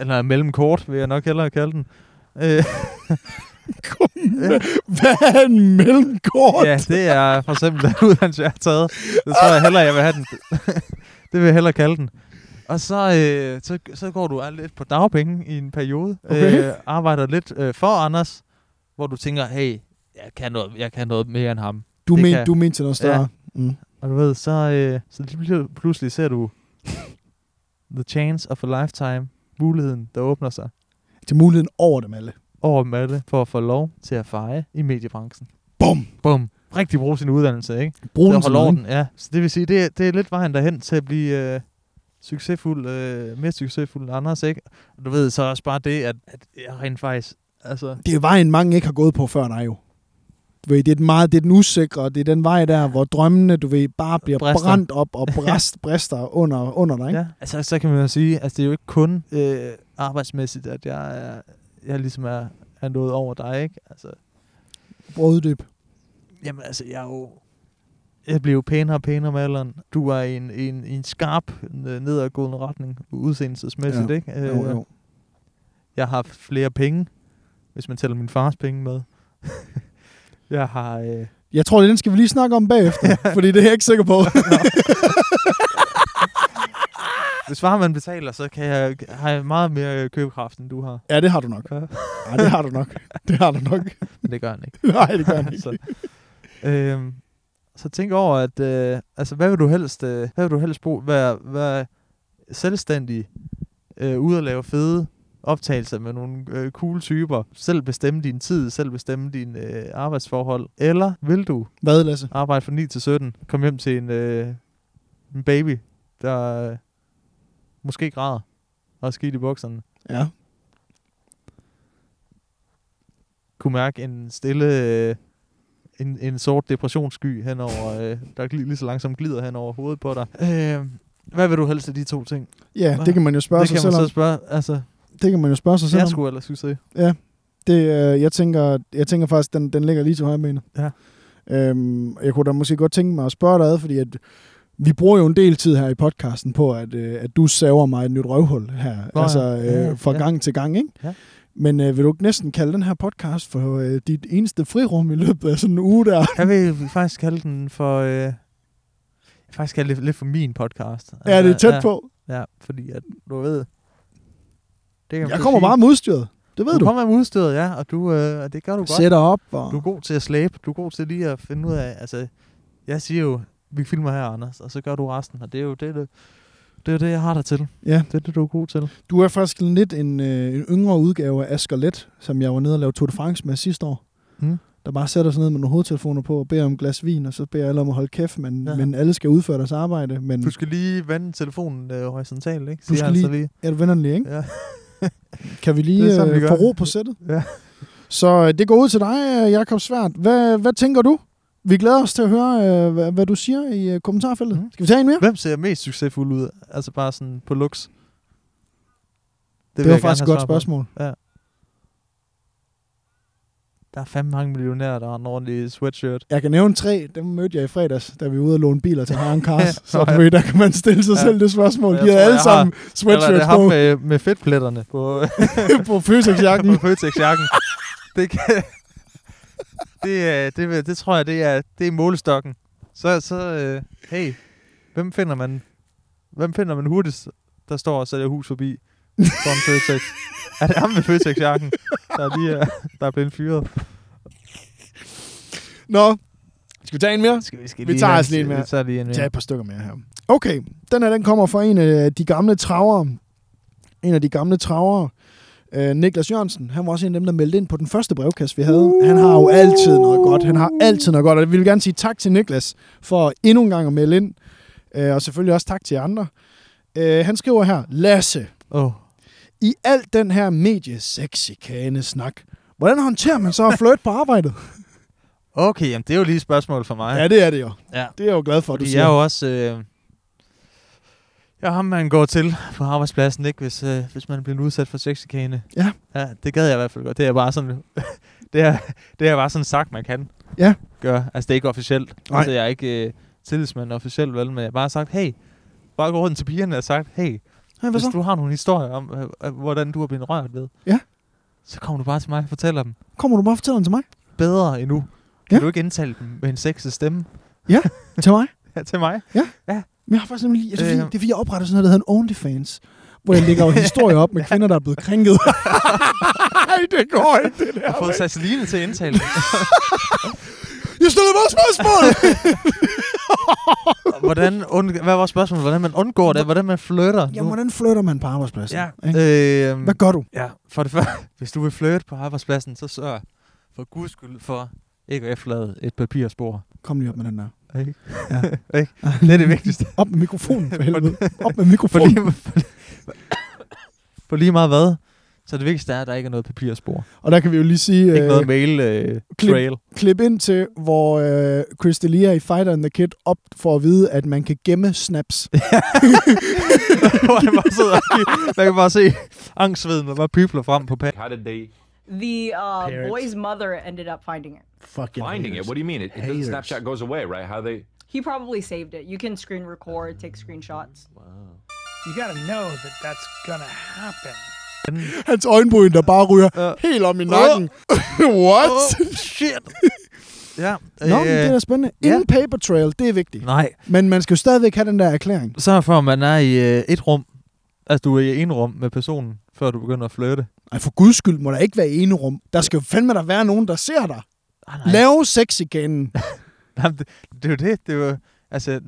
B: Eller mellemkort, vil jeg nok hellere kalde den. Øh,
A: (laughs) Hvad er en mellemkort?
B: Ja, det er for eksempel den uddannelse, jeg har taget. Det tror jeg hellere, jeg vil have den. (laughs) det vil jeg hellere kalde den. Og så, øh, så, så går du al- lidt på dagpenge i en periode.
A: Okay.
B: Øh, arbejder lidt øh, for Anders, hvor du tænker, hey, jeg kan noget, jeg kan noget mere end ham.
A: Du
B: Det
A: mente
B: kan-
A: du mente til noget større. Ja. Mm.
B: Og du ved, så, øh, så lige pl- pludselig ser
A: (laughs)
B: du the chance of a lifetime. Muligheden, der åbner sig.
A: Til muligheden over dem alle.
B: over Malte for at få lov til at feje i mediebranchen.
A: Bum!
B: Bum. Rigtig bruge sin uddannelse, ikke?
A: Brug
B: Brug
A: den
B: den
A: til
B: holde
A: noget.
B: orden, ja. Så det vil sige, det, er- det er lidt vejen derhen til at blive øh, succesfuld, øh, mere succesfuld end Anders, ikke? Og du ved så også bare det, at, at jeg rent faktisk, altså,
A: Det er vejen, mange ikke har gået på før dig jo. Du ved, det er, den meget, det er den usikre, og det er den vej der, hvor drømmene, du ved, bare bliver
B: Brister.
A: brister. brændt op og bræst, (laughs) brister under, under dig. Ikke?
B: Ja, altså så kan man jo sige, at altså, det er jo ikke kun øh, arbejdsmæssigt, at jeg, er, jeg ligesom er, er noget over dig, ikke? Altså,
A: Brøddyb.
B: jamen altså, jeg er jo... Jeg bliver jo pænere og pænere med alderen. Du er i en, i en, i en skarp øh, nedadgående retning, udseendelsesmæssigt,
A: Ja.
B: ikke? Øh,
A: Jo, jo.
B: Jeg har haft flere penge, hvis man tæller min fars penge med. (laughs) jeg har... Øh,
A: Jeg tror, den skal vi lige snakke om
B: (laughs)
A: bagefter, fordi det er jeg ikke sikker på.
B: hvis var man betaler, så kan jeg, har jeg meget mere øh, købekraft, end du har.
A: ja, det har du nok.
B: Ja.
A: Ja, det har du nok. Det har du nok.
B: Men det gør han ikke.
A: (laughs) Nej, det gør
B: (laughs)
A: han ikke.
B: så, øhm, så tænk over, at øh, altså, hvad vil du helst, øh, hvad vil du helst bruge? Være, være selvstændig, øh, ude at lave fede optagelser med nogle øh, cool typer, selv bestemme din tid, selv bestemme dine øh, arbejdsforhold, eller vil du
A: Hvad, Lasse?
B: arbejde fra 9 til 17, komme hjem til en, øh, en baby, der øh, måske græder og er skidt i bukserne,
A: Ja.
B: kunne mærke en stille, øh, en, en sort depressionssky henover, øh, der lige, lige så langsomt glider hen over hovedet på dig. Øh, hvad vil du helst af de to ting?
A: Ja, det kan man jo spørge
B: det
A: sig
B: kan
A: selv
B: man
A: om.
B: så spørge. Altså,
A: Det kan man jo spørge sig selv
B: jeg
A: om.
B: skulle ellers succes.
A: Det, øh, jeg, tænker, jeg tænker faktisk, den, den ligger lige til højre benet.
B: Ja.
A: Øhm, og jeg kunne da måske godt tænke mig at spørge dig ad, fordi at vi bruger jo en del tid her i podcasten på, at, øh, at du saver mig et nyt røvhul her,
B: Nå ja.
A: altså
B: Ja, ja,
A: øh, fra
B: ja.
A: gang til gang, ikke?
B: Ja.
A: Men øh, vil du ikke næsten kalde den her podcast for øh, dit eneste frirum i løbet af sådan en uge der?
B: Jeg vil faktisk kalde den for... Øh, jeg vil faktisk kalde det lidt for min podcast. Altså,
A: Ja, det er tæt på.
B: Ja, fordi at, du ved... Det kan man
A: Jeg
B: så
A: kommer
B: sige.
A: bare modstyret. Det ved
B: du.
A: du.
B: kommer med udstyret, ja, og du, øh, og det gør du godt.
A: Sætter op. Og...
B: Du er god til at slæbe. Du er god til lige at finde ud af, altså, jeg siger jo, vi filmer her, Anders, og så gør du resten, og det er jo det, det, det, er det jeg har dig til.
A: Ja.
B: Det er det, du er god til.
A: Du er faktisk lidt en, øh, en yngre udgave af Asger Let, som jeg var nede og lavede Tour de France med sidste år.
B: Mm.
A: Der bare sætter sig ned med nogle hovedtelefoner på og beder om et glas vin, og så beder alle om at holde kæft, men,
B: Ja.
A: ja. men alle skal udføre deres arbejde. Men
B: Du skal lige vande telefonen øh, horisontalt, ikke?
A: Du
B: Siger
A: skal
B: han så lige.
A: er du vennerlig, ikke? (laughs)
B: Ja.
A: Kan vi
B: Det
A: lige
B: er sådan, vi
A: øh,
B: gør.
A: få ro på sættet?
B: Ja.
A: Så øh, det går ud til dig, øh, Jakob Svært. Hvad, hvad tænker du? Vi glæder os til at høre, øh, hvad, hvad du siger i øh, kommentarfeltet.
B: Mm.
A: Mm. Skal vi tage en mere?
B: Hvem ser mest succesfuld ud? Altså bare sådan på looks. Det, vil
A: Det, det var
B: jeg gerne
A: faktisk
B: have
A: et godt
B: svar på.
A: spørgsmål.
B: Der er fandme mange millionærer, der har en ordentlig sweatshirt.
A: Jeg kan nævne tre. Dem mødte jeg i fredags, da vi var ude og låne biler til
B: (laughs)
A: Harren Cars.
B: Ja,
A: ja,
B: nå
A: så du
B: ja.
A: ved, der kan man stille sig
B: Ja.
A: ja. selv det spørgsmål.
B: Jeg
A: De havde
B: tror,
A: alle
B: jeg har-
A: sammen
B: Eller er det
A: sweatshirts
B: ham
A: på,
B: med, med fedtpletterne på,
A: (laughs) på Føtex-jakken.
B: (laughs) på Føtex-jakken. Det, kan, det, er- det, vil- det tror jeg, det er, det er målestokken. Så, så øh, hey, hvem finder man, hvem finder man hurtigst, der står og sælger hus forbi for en Føtex? Er det ham med Føtex-jakken, der lige er, der er blevet fyret?
A: Nå, skal vi tage en mere?
B: Skal vi, skal
A: Vi lige tager have- os lige en vi mere.
B: tager lige en
A: Tag et par stykker mere her. Okay, den her den kommer fra en af øh, de gamle travere. En af de gamle travere. Øh, Niklas Jørgensen, han var også en af dem, der meldte ind på den første brevkasse, vi havde. Han har jo altid noget godt. Han har altid noget godt, og vi vil gerne sige tak til Niklas for endnu en gang at melde ind. Øh, og selvfølgelig også tak til jer andre. Øh, han skriver her, Lasse,
B: Åh, oh,
A: i al den her mediesexikane snak, hvordan håndterer man så at flytte på arbejdet?
B: okay, jamen, det er jo lige et spørgsmål for mig.
A: ja, det er det jo.
B: (laughs) Ja.
A: Det er jeg jo glad for, at du
B: Fordi
A: siger.
B: jeg er jo også... Øh, jeg er ham, man går til på arbejdspladsen, ikke? Hvis, øh, hvis man bliver udsat for sexikane.
A: Ja.
B: ja. det gad jeg i hvert fald godt. Det er bare sådan... (laughs) det, er, det er bare sådan sagt, man kan
A: Ja.
B: gøre. Altså, det er ikke officielt.
A: Nej.
B: Altså, jeg er ikke øh, tillidsmand officielt, vel? Men jeg har bare sagt, hey... Bare gå rundt til pigerne og sagt, hey...
A: Hey, hvad
B: Hvis
A: så?
B: du har nogle historier om, øh, øh, hvordan du er blevet rørt ved...
A: Ja.
B: Så kommer du bare til mig og fortæller dem
A: Kommer du bare og fortæller den til mig?
B: bedre endnu. Kan
A: Ja.
B: du ikke indtale dem med en sexet stemme
A: Til mig?
B: ja, til mig?
A: Men jeg har faktisk nemlig lige... Altså, øh,
B: Øh.
A: det er fordi, jeg opretter sådan noget, der hedder en OnlyFans. Hvor jeg
B: (laughs)
A: lægger jo historier op med kvinder, der er blevet krænket. Nej, det går ikke, det
B: Jeg
A: der.
B: har fået Sasseline til at indtale dem. (laughs)
A: Jeg stiller bare spørgsmål!
B: hvordan und- hvad var spørgsmålet? Hvordan man undgår det? Hvordan man flytter?
A: Jamen, hvordan flytter man på arbejdspladsen?
B: ja.
A: Ikke?
B: Øh,
A: Hvad gør du?
B: ja, for det første, (laughs) hvis du vil flytte på arbejdspladsen, så sørg for guds skyld for ikke at efterlade et papirspor.
A: Kom lige op med den der.
B: Ikke?
A: Ja.
B: (laughs) Ikke? det er det vigtigste.
A: Op med mikrofonen,
B: (laughs)
A: for helvede. Op med
B: For
A: mikrofonen.
B: lige, for, for lige meget hvad, så det vigtigste er, at der ikke er noget papirspor.
A: Og der kan vi jo lige sige,
B: Ikke noget
A: øh,
B: mail øh,
A: klip.
B: trail.
A: klip ind til, hvor øh, Chris D'Elia i Fighter and the Kid op for at vide, at man kan gemme
B: (laughs)
A: snaps.
B: Hvor han bare sidder og gi- Man kan bare se angstsveden, der bare pipler frem på panden.
C: How did they
D: The uh,
E: Parents.
D: boy's mother ended up finding it.
E: Fucking
C: finding
E: haters.
C: it? What do you mean? It, it
E: Haters.
C: doesn't, Snapchat goes away, right? How they?
D: He probably saved it. You can screen record, take screenshots.
F: You gotta know that that's gonna happen.
A: Hans øjenbryn, der bare ryger uh, helt om i nakken. (laughs) Uh, What? Uh,
B: shit! ja.
A: Nå, men det er da spændende.
B: Øh, ja.
A: Ingen paper trail, det er vigtigt.
B: Nej,
A: Men man skal jo stadigvæk have den der erklæring.
B: sørg for, at man er i øh, et rum. Altså, du er i en rum med personen, før du begynder at flytte.
A: Ej, for guds skyld må der ikke være ene rum. Der skal jo fandme der være nogen, der ser dig.
B: Ah,
A: Lave sex
B: (laughs)
A: igen.
B: Jamen, det, det er jo det. Det er jo, altså,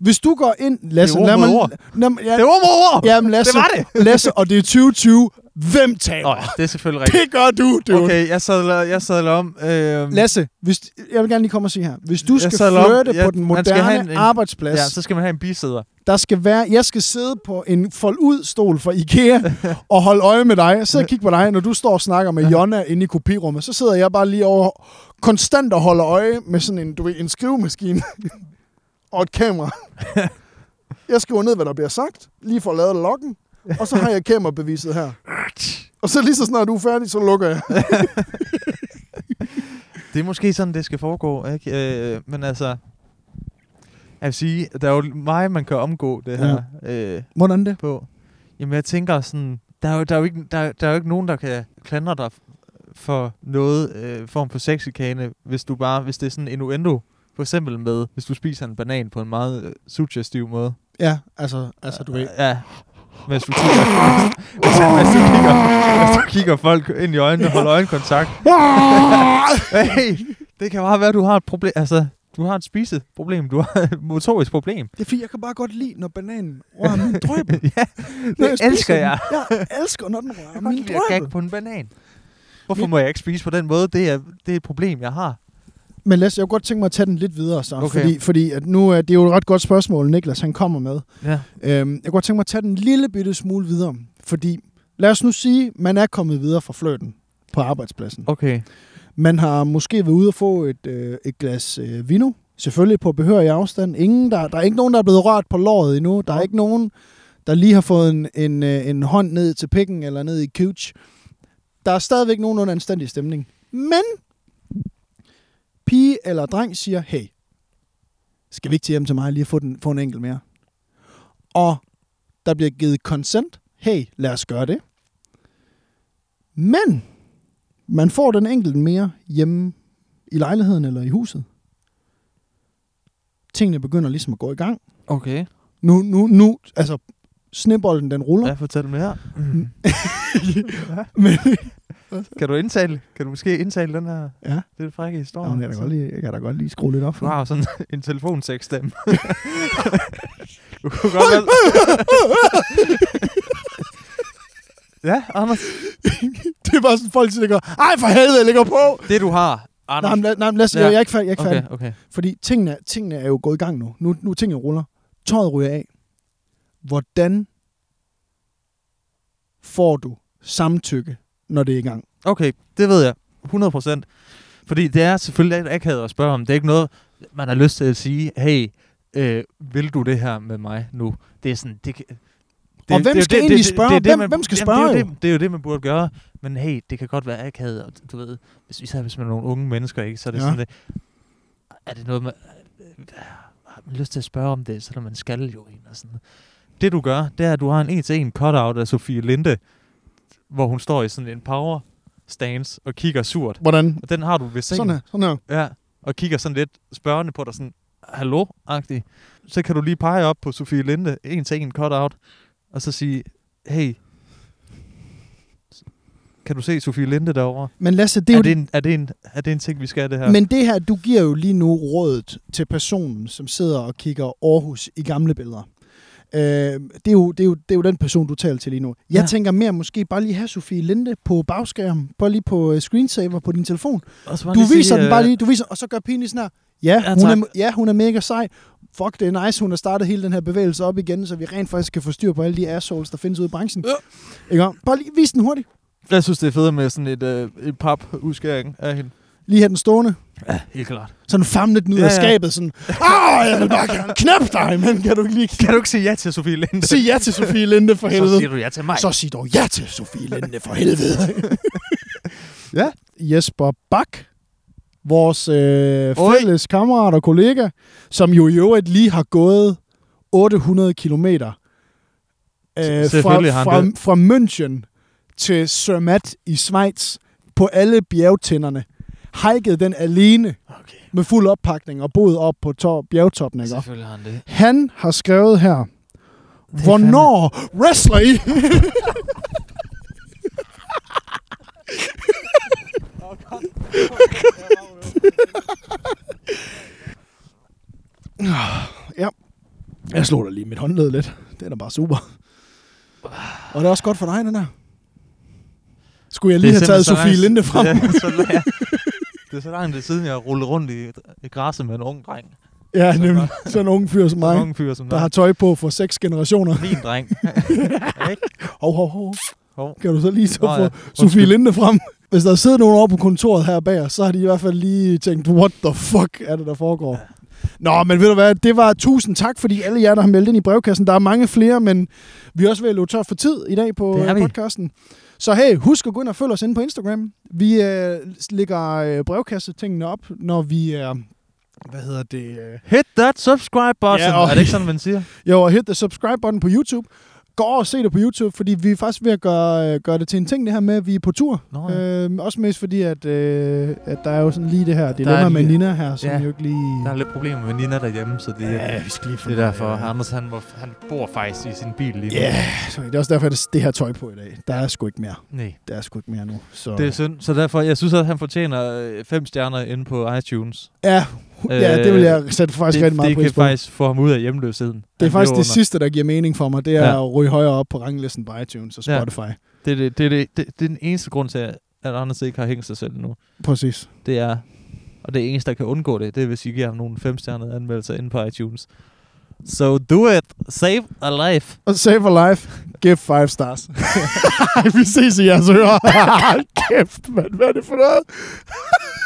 A: Hvis du går ind... Lasse,
B: Det er ord
A: lad
B: mod
A: mig-
B: ord.
A: Lad mig, ja,
B: det er ord mod ord!
A: Jamen, Lasse,
B: (laughs) Det var det!
A: Lasse, og det er 2020. Hvem taber?
B: Nå, ja, det er selvfølgelig rigtigt.
A: Det gør du, dude. Okay.
B: Okay, jeg sadler, jeg sadler om. Øhm,
A: Lasse, hvis, jeg vil gerne lige komme og sige her. Hvis du
B: Jeg
A: skal
B: sadler om.
A: flytte
B: Ja,
A: på den
B: man skal have
A: moderne
B: en- en-
A: arbejdsplads,
B: ja, så skal man have en bisæder.
A: der skal være, jeg skal sidde på en fold-ud-stol fra IKEA og holde øje med dig. Jeg sidder og kigger på dig, når du står og snakker med Jonna inde i kopirummet. Så sidder jeg bare lige over konstant og holder øje med sådan en, du ved, en skrivemaskine (laughs) og et kamera. Jeg skriver ned, hvad der bliver sagt, lige for at lave loggen, og så har jeg kamerabeviset her. Og så lige så snart du er færdig, så lukker jeg.
B: Det er måske sådan, det skal foregå, ikke? Øh, men altså, jeg vil sige, der er jo meget, man kan omgå det her ja. øh,
A: Hvordan det?
B: på. Jamen, jeg tænker sådan, der er jo, der er jo, ikke, der, er- der er jo ikke nogen, der kan klandre dig f- for noget øh, form for sexikane, hvis du bare, hvis det er sådan innuendo, for eksempel med, hvis du spiser en banan på en meget øh, suggestiv måde.
A: Ja, altså, altså du ved.
B: Ja. Hvis du kigger, hvis, hvis, du kigger, hvis du kigger folk ind i øjnene og holder
A: (laughs)
B: øjenkontakt. hey, det kan bare være, at du har et problem. Altså, du har et spiseproblem. Du har et motorisk problem.
A: Det er fordi, jeg kan bare godt lide, når bananen rører min drøb.
B: (laughs) ja,
A: Når
B: det
A: spiser
B: elsker
A: den.
B: jeg.
A: Jeg elsker, når den rører min
B: Jeg kan ikke
A: drøb.
B: på en banan. Hvorfor må jeg ikke spise på den måde? Det er, det er et problem, jeg har.
A: Men Lasse, jeg kunne godt tænke mig at tage den lidt videre så, okay.
B: Okay.
A: fordi, fordi at nu er det er jo et ret godt spørgsmål, Niklas han kommer med.
B: Ja.
A: Øhm, jeg kunne godt tænke mig at tage den lille bitte smule videre, fordi lad os nu sige, man er kommet videre fra fløten på arbejdspladsen.
B: Okay.
A: Man har måske været ude og få et, øh, et glas øh, vino, selvfølgelig på behørig afstand. Ingen, der, der er ikke nogen, der er blevet rørt på låret endnu. Der er ikke nogen, der lige har fået en, en, øh, en hånd ned til pikken eller ned i couch. Der er stadigvæk nogenlunde anstændig stemning. Men pige eller dreng siger, hey, skal vi ikke til hjem til mig og lige få, den, få en enkelt mere? Og der bliver givet consent. Hey, lad os gøre det. Men man får den enkelte mere hjemme i lejligheden eller i huset. Tingene begynder ligesom at gå i gang.
B: Okay.
A: Nu, nu, nu, altså snebolden den ruller.
B: Ja,
A: Ja.
B: fortæl mere.
A: Men,
B: Kan du indtale? Kan du måske indtale den her
A: (laughs) ja,
B: lidt frække historie?
A: Jamen, jeg, kan da godt lige, jeg kan da godt lige skrue lidt op
B: Du
A: for.
B: har jo sådan (laughs)
A: (laughs)
B: en telefonseksstemme. du kunne godt være... (laughs) ja, Anders.
A: Det er bare sådan, folk siger, ej for helvede, jeg ligger på.
B: Det du har,
A: Nej,
B: Anders.
A: men, lad- nej, men lad os,
B: Ja.
A: jeg er ikke færdig. Jeg er ikke færdig.
B: okay, okay.
A: Fordi tingene, tingene er jo gået i gang nu. Nu, nu er tingene ruller. Tøjet ryger af. Hvordan får du samtykke, når det er i gang?
B: Okay, det ved jeg. 100 procent. Fordi det er selvfølgelig lidt akavet at spørge om. Det er ikke noget, man har lyst til at sige, hey, øh, vil du det her med mig nu? Det er sådan, det kan...
A: Og hvem
B: er jo
A: skal egentlig spørge?
B: det
A: Hvem- hvem skal
B: Jamen, Det er,
A: spørge
B: jo det, det er jo det, man burde gøre. Men hey, det kan godt være akavet, og du ved, hvis, især hvis man er nogle unge mennesker, ikke, så er det
A: Ja.
B: ja. sådan, det, er det noget, man, har man lyst til at spørge om det, selvom man skal jo en og sådan noget. Det du gør, det er, at du har en en-til-en cutout af Sofie Linde, hvor hun står i sådan en power stance og kigger surt.
A: Hvordan?
B: Og den har du ved sengen.
A: Sådan her. Sådan her.
B: Ja, og kigger sådan lidt spørgende på dig, sådan, hallo-agtig. Så kan du lige pege op på Sofie Linde, en til en cut-out, og så sige, hey, Kan du se Sofie Linde derovre?
A: Men Lasse, det
B: Det
A: er, jo
B: er, er, det en, er, det en, er det en ting, vi skal det her?
A: Men det her, du giver jo lige nu rådet til personen, som sidder og kigger Aarhus i gamle billeder. Øh, det, er jo, det, er jo, det er jo den person, du taler til lige nu. Jeg
B: Ja.
A: ja. tænker mere måske bare lige have Sofie Linde på bagskærmen, bare lige på øh, screensaver på din telefon.
B: Og så må jeg
A: Du
B: lige
A: viser
B: sige,
A: den bare
B: øh,
A: lige, du viser, og så gør penisen her. Ja,
B: Ja,
A: ja, hun
B: tak.
A: er, ja, hun er mega sej. Fuck, det er nice, hun har startet hele den her bevægelse op igen, så vi rent faktisk kan få styr på alle de assholes, der findes ude i branchen.
B: Ja.
A: Ikke om? Bare lige vis den hurtigt.
B: Jeg synes, det er federe med sådan et, øh, et pap-udskæring af hende.
A: Lige have den stående.
B: Ja, helt klart.
A: sådan famlet den ud
B: Ja,
A: ja,
B: ja.
A: af skabet, sådan, ah, jeg vil bare gerne knæppe dig, men kan du ikke lige
B: Kan du ikke sige ja til Sofie Linde?
A: sige ja til Sofie Linde for
B: Så siger
A: helvede?
B: du ja til mig.
A: Så sig dog ja til Sofie Linde for helvede.
B: (laughs) Ja.
A: Jesper Bak, vores øh,
B: Oj.
A: fælles kammerat og kollega, som jo i øvrigt lige har gået 800 kilometer øh,
B: Selvfølgelig
A: fra,
B: har
A: fra,
B: han det.
A: fra München til Zermatt i Schweiz på alle bjergtænderne. Hikede den alene
B: Okay. Altså,
A: med fuld oppakning og boet op på to- bjergtoppen. Ikke?
B: Selvfølgelig har han det.
A: Han har skrevet her, hvornår wrestler I? ja. Jeg slog da lige mit håndled lidt. Den er bare super. Og det er også godt for dig, den her. Skulle jeg lige have taget Sofie
B: (laughs)
A: Linde frem?
B: Det er, så langt, det er så langt siden, jeg rullede rundt i, i græsset med en ung dreng.
A: Ja, nemlig. Sådan en ung fyr som
B: En
A: mig,
B: ung fyr som
A: der har
B: dig.
A: tøj på for seks generationer.
B: Min
A: (laughs)
B: dreng. Ikke?
A: Hov, hov, hov.
B: Hov.
A: Kan du så lige så
B: Nå,
A: få
B: ja.
A: ja.
B: Undskyld.
A: Sofie Linde frem? Hvis der sidder nogen over på kontoret her bag os, så har de i hvert fald lige tænkt, what the fuck er det, der foregår? Nå, men ved du hvad, det var tusind tak, fordi alle jer, der har meldt ind i brevkassen. Der er mange flere, men vi er også ved at løbe tør for tid i dag på
B: Det er
A: øh,
B: vi.
A: podcasten. Så hey, husk at gå ind og følge os inde på Instagram. Vi øh, lægger øh, brevkassetingene op, når vi er... Hvad hedder det? Øh,
B: Hit that subscribe button.
A: Ja, og-
B: Er det ikke sådan, man siger?
A: jo, og hit the subscribe button på YouTube. Gå over og se det på YouTube, fordi vi er faktisk ved at gøre, øh, gøre det til en ting, det her med, at vi er på tur.
B: Nå, ja.
A: Øh, også mest fordi, at, øh, at der er jo sådan lige det her dilemma
B: er
A: med
B: lige-
A: Nina her, som
B: Ja.
A: ja. jo ikke lige...
B: Der er lidt problemer med Nina derhjemme, så det, ja,
A: vi skal lige
B: det er derfor. Anders, han, må, han bor faktisk i sin bil lige nu.
A: Ja, så det er også derfor, at det- det her tøj på i dag. Der er sgu ikke mere.
B: Nej.
A: Der er sgu ikke mere nu. Så.
B: Det er synd, så derfor, jeg synes, at han fortjener øh, fem stjerner inde på iTunes.
A: ja, hu- ja, det vil jeg sætte faktisk det,
B: Øh, det,
A: rigtig meget
B: det
A: pris
B: kan
A: på.
B: faktisk få ham ud af hjemløsheden.
A: Det er
B: Han
A: faktisk
B: lever
A: det sidste, der giver mening for mig. Det er
B: Ja.
A: ja. at ryge højere op på ranglisten på iTunes og
B: Ja.
A: Spotify. Ja.
B: under. Det, er det, det, er det, det, det er den eneste grund til, at Anders ikke har hængt sig selv nu.
A: Præcis.
B: Det er, og det eneste, der kan undgå det, det er, hvis I giver ham nogle femstjernede anmeldelser inde på iTunes. So do it. Save a life.
A: Og save a life. Give five stars. (laughs) vi ses i jeres ører. Kæft, mand. Hvad er det for noget? (laughs)